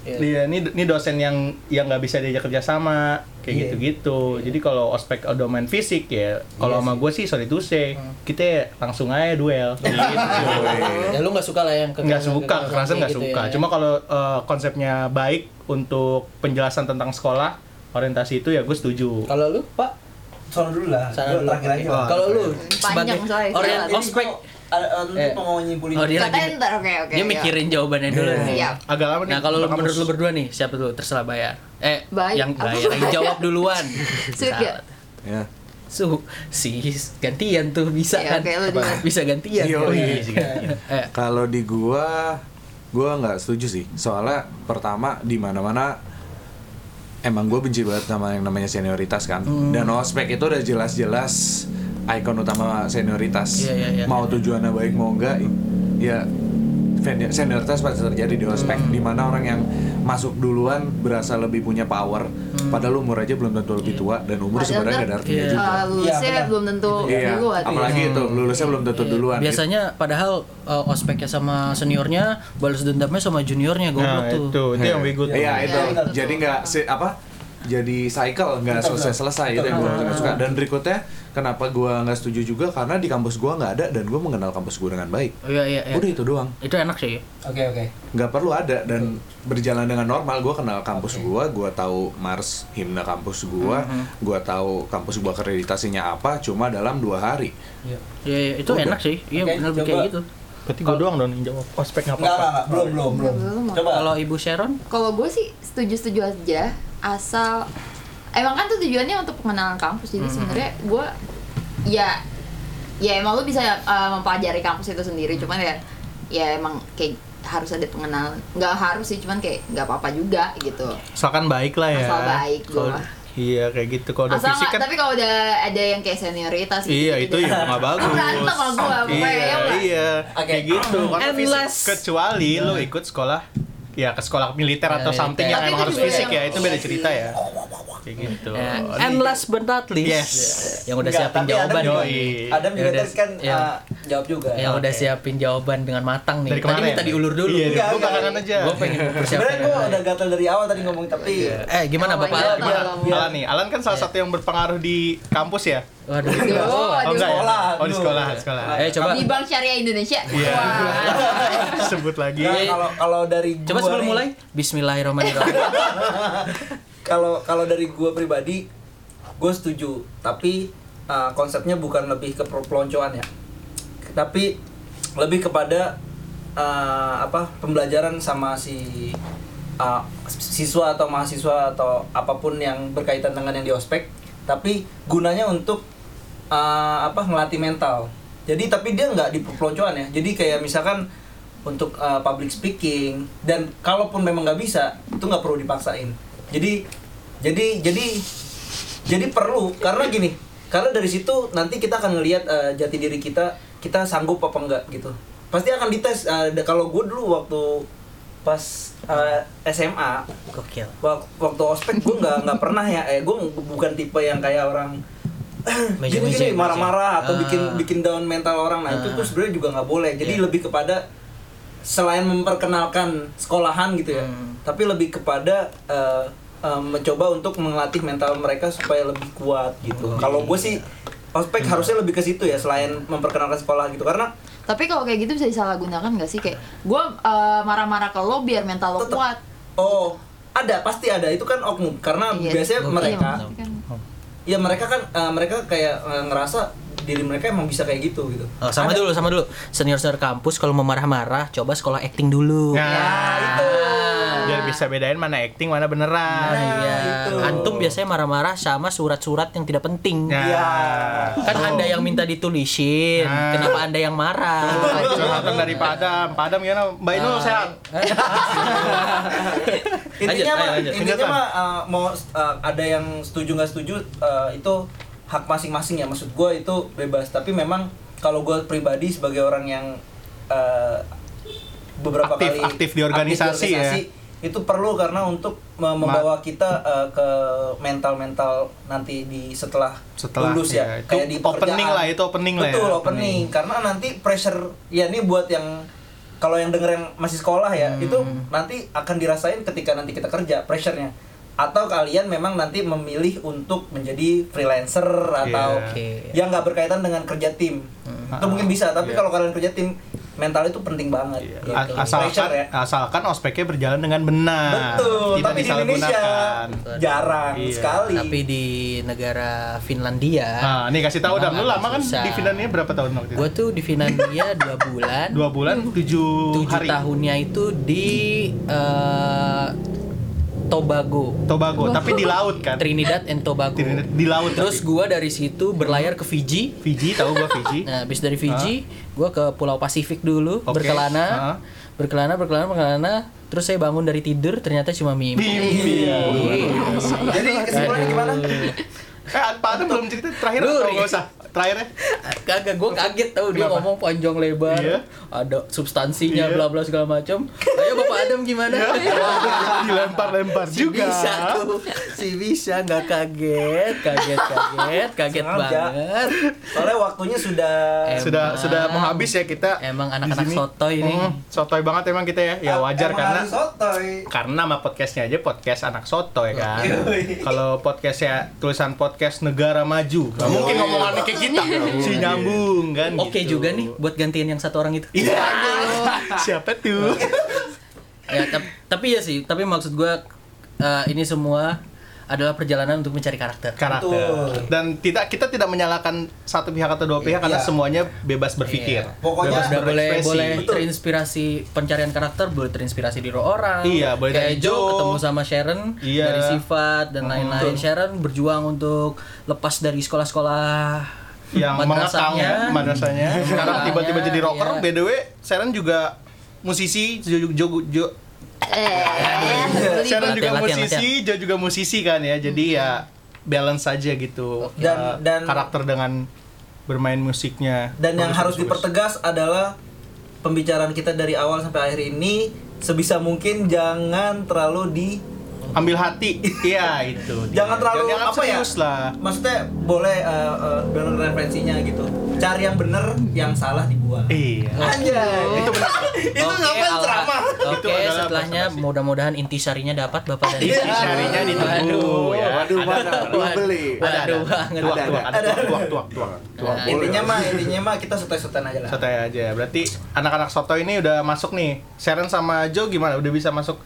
Iya. Iya, ini ini dosen yang yang nggak bisa diajak kerjasama kayak Iya. gitu-gitu. Jadi kalau ospek domain fisik ya, kalau Iya Hmm. sama gue sih sorry tuh say, kita langsung aja Iya. duel. Kayak iya. gitu. ya lu nggak suka lah yang kekerasan- nggak suka kekerasan kayak kekerasan nggak gitu suka ya. cuma kalau eh, konsepnya baik untuk penjelasan tentang sekolah orientasi itu ya gue setuju kalau lu pak Sono dulu lah. sana Gua dulu terakhir aja. lah. kalau lu Panjang sebagai soalnya. orient Jalan. Jadi ospek gua- ada- ada- nanti Eh. mau nyimpulin. Oh, dia lagi Katanya ntar, oke oke. dia iya. mikirin jawabannya dulu nih Siap. agak lama nih Nah kalau bakal menurut lu mus- berdua nih siapa dulu terserah bayar. Eh Bay- yang apa bayar yang bayar? jawab duluan. Sulit Bisa. ya? Ya. Su, si gantian tuh bisa Iya, kan? oke, lu duluan. bisa gantian. Iya, kan? iya, Eh, Kalau di gua, gua nggak setuju sih. Soalnya pertama di mana-mana emang gue benci banget sama yang namanya senioritas kan. Hmm. Dan ospek itu udah jelas-jelas ikon utama senioritas. Iya, iya, iya. mau tujuannya baik mau enggak, ya fen- senioritas pasti terjadi di ospek. Hmm. Di mana orang yang masuk duluan berasa lebih punya power, padahal umur aja belum tentu lebih tua dan umur Padahal sebenarnya nggak ada artinya Hmm. Iya. juga. Eh, lulusnya benar. belum tentu Iya, duluan. apalagi itu lulusnya belum tentu Iya. duluan. gitu. biasanya padahal eh, ospeknya sama seniornya balas dendamnya sama juniornya nah goblok itu tuh. itu yang bego tuh Iya itu. Iya, betul. Jadi nggak si- apa? Jadi cycle nggak selesai selesai itu yang gue nggak suka. Dan berikutnya kenapa gue nggak setuju juga karena di kampus gue nggak ada dan gue mengenal kampus gue dengan baik. Iya iya iya. Udah itu doang. Itu enak sih. Oke oke. Nggak perlu ada dan berjalan dengan normal. Gue kenal kampus gue, gue tahu Mars himne kampus gue, Mhm. gue tahu kampus gue akreditasinya apa. Cuma dalam dua hari. Iya iya, itu Udah. enak sih. Iya Oke, benar coba. kayak gitu. berarti gue doang dong yang jawab ospek nggak Enggak, apa-apa enggak, belum, belum, belum. Belum. Coba. Kalau Ibu Sharon Kalau gue sih setuju-setuju aja asal emang kan tuh tujuannya untuk pengenalan kampus Mm-hmm. jadi sebenarnya gue ya ya emang lu bisa eh, mempelajari kampus itu sendiri cuman ya ya emang kayak harus ada pengenalan nggak harus sih cuman kayak nggak apa-apa juga gitu asalkan baik lah ya Asal baik gua. Kalau- iya kayak gitu kalau udah asal fisik nggak- kan tapi kalau udah ada yang kayak senioritas gitu, Iya itu gitu, ya nggak bagus. Berantem sama gua, pokoknya, Iya ya nggak? iya. Oke. Kayak gitu. Karena fisik- Endless. kecuali lo ikut sekolah ya ke sekolah militer Ya, atau something Iya. militer. yang Tapi emang itu harus juga fisik yang- ya itu beda cerita ya. Kayak gitu. eh, and last but not least Yes. yang udah Enggak, siapin tapi Adam jawaban. juga- Yoi. Adam juga Ya udah, tadi kan iya. ah, jawab juga. yang udah siapin jawaban dengan matang nih. Dari tadi kemarin. minta diulur dulu. Iya, Enggak, gue enggak. belakangan aja. Gue pengen persiapan. Sebenarnya gua udah gatel dari awal tadi ngomong tapi Eh gimana Oh my bapak? God. Gimana? Iya. Alan nih, Alan kan salah satu yang berpengaruh di kampus ya? Waduh. Aduh, Oh, enggak ya? sekolah, Oh, di aduh. sekolah, di sekolah. Eh coba. di Bank Syariah Indonesia Iya. Wah. Sebut lagi. Iya, Nah, kalau kalau dari Coba gua sebelum nih, mulai. Bismillahirrahmanirrahim. Kalau kalau dari gua pribadi gue setuju, tapi ah, konsepnya bukan lebih ke per- peloncoan ya. Tapi lebih kepada ah, apa? pembelajaran sama si ah, siswa atau mahasiswa atau apapun yang berkaitan dengan yang di ospek, tapi gunanya untuk ah, apa? ngelatih mental. Jadi tapi dia nggak di peloncoan ya. Jadi kayak misalkan untuk uh, public speaking dan kalaupun memang nggak bisa itu nggak perlu dipaksain jadi jadi jadi jadi perlu karena gini karena dari situ nanti kita akan ngelihat uh, jati diri kita kita sanggup apa enggak gitu pasti akan dites Uh, da- kalau gue dulu waktu pas uh, SMA Gokil. wak- waktu ospek gue nggak nggak pernah ya eh gue bukan tipe yang kayak orang Meja-meja, meja. gini-gini marah-marah Ah. atau Iya. bikin bikin down mental orang nah itu tuh sebenarnya juga nggak boleh jadi lebih kepada selain memperkenalkan sekolahan gitu ya Hmm. tapi lebih kepada eh, eh, mencoba untuk melatih mental mereka supaya lebih kuat Oh, gitu iya, kalau gue sih ospek Hmm. harusnya lebih ke situ ya selain memperkenalkan sekolah gitu karena Tapi kalau kayak gitu bisa disalahgunakan gak sih kayak gue marah-marah ke lo biar mental lo Tetep. kuat. oh ada pasti ada itu kan oknum karena Iya. biasanya Iya, mereka maksudnya kan. ya mereka kan eh, mereka kayak eh, ngerasa diri mereka emang bisa kayak gitu gitu Oh, sama dulu, sama dulu. Senior-senior kampus kalau mau marah-marah, coba sekolah acting dulu. Nah, itu biar bisa bedain mana acting, mana beneran. Iya. gitu. itu. Antum biasanya marah-marah sama surat-surat yang tidak penting. Nah. Iya. Kan Anda yang minta ditulisin. Nah. Kenapa Anda yang marah? Gitu. Curhatan dari Padam. Padam gimana? Mbak Inul Ah, sehat? iya. intinya Lanjut, mah ayo, lanjut. intinya Lanjut, mah uh, mau uh, ada yang setuju nggak setuju uh, itu hak masing-masing ya maksud gue itu bebas tapi memang kalau gue pribadi sebagai orang yang uh, eh, beberapa Aktif- kali aktif di organisasi ya. itu perlu karena untuk me- membawa kita eh, ke mental-mental nanti di setelah, Setelah, lulus ya, ya, itu opening pekerjaan. lah, itu opening lah ya, betul opening. opening karena nanti pressure ya ini buat yang kalau yang denger yang masih sekolah ya Hmm. itu nanti akan dirasain ketika nanti kita kerja pressurenya atau kalian memang nanti memilih untuk menjadi freelancer atau Iya. Oke. yang nggak berkaitan dengan kerja tim Hmm. itu mungkin bisa tapi kalau kalian kerja tim mental itu penting banget gitu. Iya. A- asalkan Pressure ya Iya. asalkan ospeknya berjalan dengan benar. betul Tidak tapi di Indonesia disalahgunakan. jarang Iya. sekali Tapi di negara Finlandia, Nah, nih kasih tahu dah Memang lu agak lama kan susah. di Finlandia berapa tahun waktu itu? gue tuh di Finlandia dua bulan, Dua bulan, tujuh, tujuh hari. tahunnya itu di eh, Tobago. Tobago, tapi di laut kan. Trinidad and Tobago. Trinidad- di laut Terus tapi. gua dari situ berlayar ke Fiji. Fiji, tahu gua Fiji. Nah, habis dari Fiji, gua ke Pulau Pasifik dulu, Oke. berkelana, Ah. berkelana, berkelana, berkelana. Terus saya bangun dari tidur, ternyata cuma mimpi. Mimpi. jadi kesimpulannya gimana Eh, Pak Adam belum cerita terakhir Lu, atau Ri. nggak usah? ya? Terakhirnya? Kagak, gue kaget tau dia Kenapa? ngomong panjang lebar, Iya. ada substansinya, Iya. bla bla segala macam. Ayo Bapak Adam gimana? Dilempar-lempar Si juga. bisa tuh, si bisa nggak kaget, kaget, kaget, kaget Sengaja. banget. soalnya waktunya sudah Em- Sudah Emang. ah, sudah mau habis ya kita. Emang di anak-anak sini. sotoy nih. Mm, sotoy banget emang kita ya. Ya wajar Ah, Emang karena harus sotoy. karena sama podcastnya aja podcast anak soto ya kan Yoi. kalau podcastnya tulisan podcast negara maju nggak mungkin ngomongannya kayak kita si nyambung kan Oke gitu. juga nih buat gantiin yang satu orang itu. Iya. siapa tuh ya, tap- tapi ya sih, tapi maksud gua eh, ini semua adalah perjalanan untuk mencari karakter. karakter Betul. dan tidak kita tidak menyalahkan satu pihak atau dua pihak Iya. karena semuanya bebas berpikir Iya. Pokoknya bebas Udah boleh berekspresi boleh Betul. terinspirasi pencarian karakter, boleh terinspirasi di orang. Iya, boleh dari kayak Joe Joe. ketemu sama Sharon Iya. Hmm. dari sifat dan lain-lain. Sharon berjuang untuk lepas dari sekolah-sekolah yang madrasahnya. mengekang ya, madrasahnya sekarang Madrasahnya, tiba-tiba jadi rocker iya. by the way Sharon juga musisi Jo, Jo- Jo- Jo- Eh, Sharon ya, juga Latihan, latihan, musisi, Jo juga musisi kan ya. Jadi ya balance aja gitu. Hmm. Dan- Ya, dan- karakter dengan bermain musiknya. dan yang Bagus, harus bagus. dipertegas adalah pembicaraan kita dari awal sampai akhir ini sebisa mungkin jangan terlalu di ambil hati. Iya, itu. dia. jangan terlalu Jangan apa ya serius lah. maksudnya boleh eh, eh, bener referensinya gitu cari yang bener yang salah dibuang Iya. anjay itu bener itu Oke, ngapain Alha. ceramah Itu Oke, Gitu adalah setelahnya presentasi. mudah-mudahan intisarinya dapat Bapak dan Iya, Ibu. syarinya ditunggu ya. Waduh, mana? Belum beli. Ada, ada. banget. Tuak, tuak, ada Ada, tuak, ada. tuak, tuak, tuak. Tuang Nah, boleh. intinya mah intinya mah kita sotoy-sotoyan aja lah Sotoy aja. Berarti anak-anak soto ini udah masuk nih. Sharon sama Joe gimana? Udah bisa masuk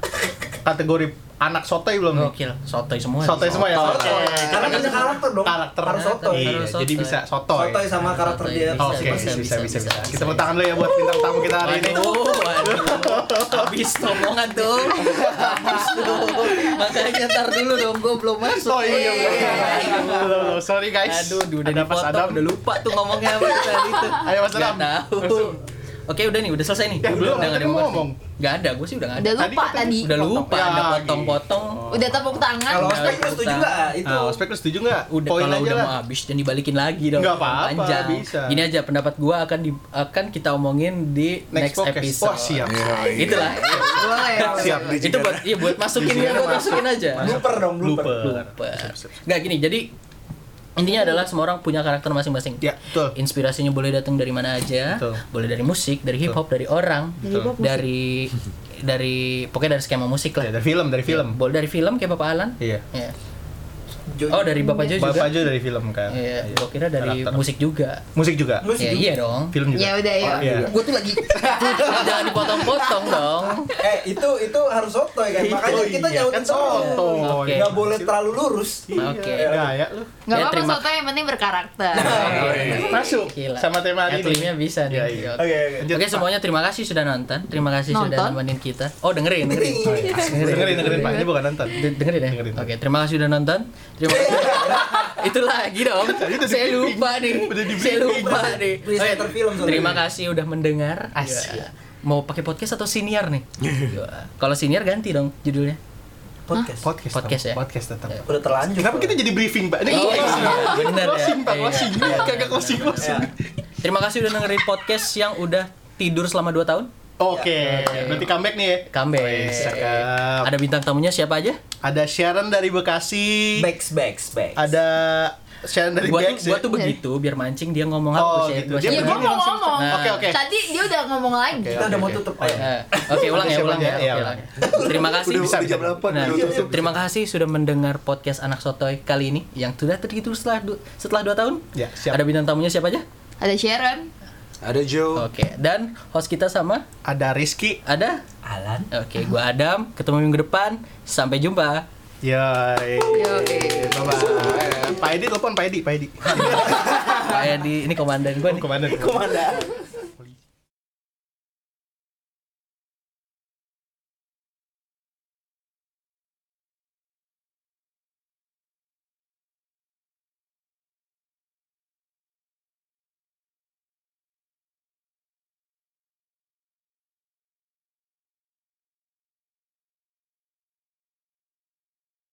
kategori anak sotoy belum nih? Gokil, sotoy semua. Sotoy semua ya. Sotoy. sotoy. Karena punya karakter dong. Karakter. Harus sotoy. Iya, Harus jadi sotoy. bisa sotoy. sotoy sama karakter Sotoy. dia Bisa, Oke, bisa, bisa bisa bisa, bisa. Kita bisa. tepuk tangan dulu ya buat bintang tamu kita hari ini. Waduh, waduh. Habis omongan tuh. Habis tuh. Makanya ntar dulu dong, gue belum masuk. Oh iya, iya, iya. Aduh, sorry guys. Aduh, udah Ada Mas dipotong, Adam. udah lupa tuh ngomongnya apa tadi tuh. Ayo, Mas Nggak Adam. tahu. Oke, udah nih, udah selesai nih. Ya, belum, udah nggak denger tadi mau sih. ngomong. Nggak ada, gue sih udah nggak ada. Udah lupa Tadi tadi. Udah lupa, Ya, ada gitu. potong-potong. Udah tepuk tangan. kalau Nggak ospek lu setuju nggak itu Nah, ospek lu setuju nggak? udah Poin kalau aja udah lah. mau habis dan dibalikin lagi dong. Nggak apa-apa, Panjang. bisa. Gini aja pendapat gua akan di, akan kita omongin di Next next, podcast. episode. Iya. Oh, siap. Yoi. Itulah. boleh Siap. itu buat iya buat masukin ya, buat masukin aja. blooper dong blooper Blooper. Enggak gini, jadi intinya adalah semua orang punya karakter masing-masing. Ya, betul. Inspirasinya boleh datang dari mana aja. Betul. Boleh dari musik, dari hip hop, dari orang, Dari hip hop, musik. dari dari pokoknya dari skema musik Ya, lah. dari film, dari film. Boleh dari film kayak Bapak Alan. Iya. Iya. Jo- Oh, dari Bapak Jo juga. Bapak Jo dari film kan. Iya, gua kira dari Karakter. musik juga. Musik juga. Lu Ya setuju? iya dong. Film juga. Ya udah ya. Iya. Gue tuh lagi jangan dipotong-potong dong. eh itu itu harus sotoy kan makanya Itu kita iya, nyautin kan sotoy sotoy. iya. Oke. nggak boleh terlalu lurus Oke. Nah, ya Nah. lu. Gak Ya, apa-apa, terima- soto yang penting berkarakter. Masuk Iya. Gila. sama tema hari Iklimnya ini. bisa nih. Iya, iya. Oke. oke oke Lanjut, Oke Pak. semuanya terima kasih sudah nonton. Terima kasih sudah Nonton? nemenin kita. Oh dengerin, Iya. dengerin. Dengerin, dengerin Pak. Ini bukan nonton. De- dengerin ya. Dengerin. Oke, terima kasih sudah nonton. Terima kasih. Itu lagi dong. gitu Saya lupa nih. Saya lupa nih. Presenter film soalnya. terima kasih udah mendengar. Iya. Asik. Mau pakai podcast atau siniar nih? Iya. Kalau siniar ganti dong judulnya. podcast Podcast. Podcast tetap. ya? Podcast tetap. udah terlanjur Kenapa kita jadi briefing, Pak? Ini Oh, closing. iya, bener ya. Closing, Pak. Iya. Closing. Iya. Kagak closing, closing. Terima kasih udah dengerin podcast yang udah tidur selama 2 tahun. Oke, berarti comeback nih ya. Iya. Comeback. Wih, cakep. Ada bintang tamunya siapa aja? Ada Sharon dari Bekasi. Backs, backs, backs. Ada Sharon dari Gua tuh, Bex. gua ya? tuh begitu biar mancing dia ngomong apa Oh, gua share- gitu. gua Dia share Iya, gue gua dulu. mau langsung- ngomong. Nah. Oke, oke. Tadi dia udah ngomong lagi. Kita udah mau Oke, tutup. Ayo. Eh, Oke, ulang ya, Siapa ulang ya. aja? Oke, Iya, ulang ya. Terima kasih. Udah, udah jam berapa? Nah, Udah tutup. terima kasih sudah mendengar podcast Anak Sotoy kali ini yang sudah terhitung setelah du- setelah 2 tahun. Ya, siap. Ada bintang tamunya siapa aja? Ada Sharon. Ada Joe. Oke, dan host kita sama Ada Rizky. ada Alan. Oke, gua Adam, ketemu minggu depan. Sampai jumpa. Yoi. Yoi. Bye-bye. Pak Edi telepon Pak Edi, Pak Edi. Pak Edi, ini komandan gua nih. Komandan. Komandan.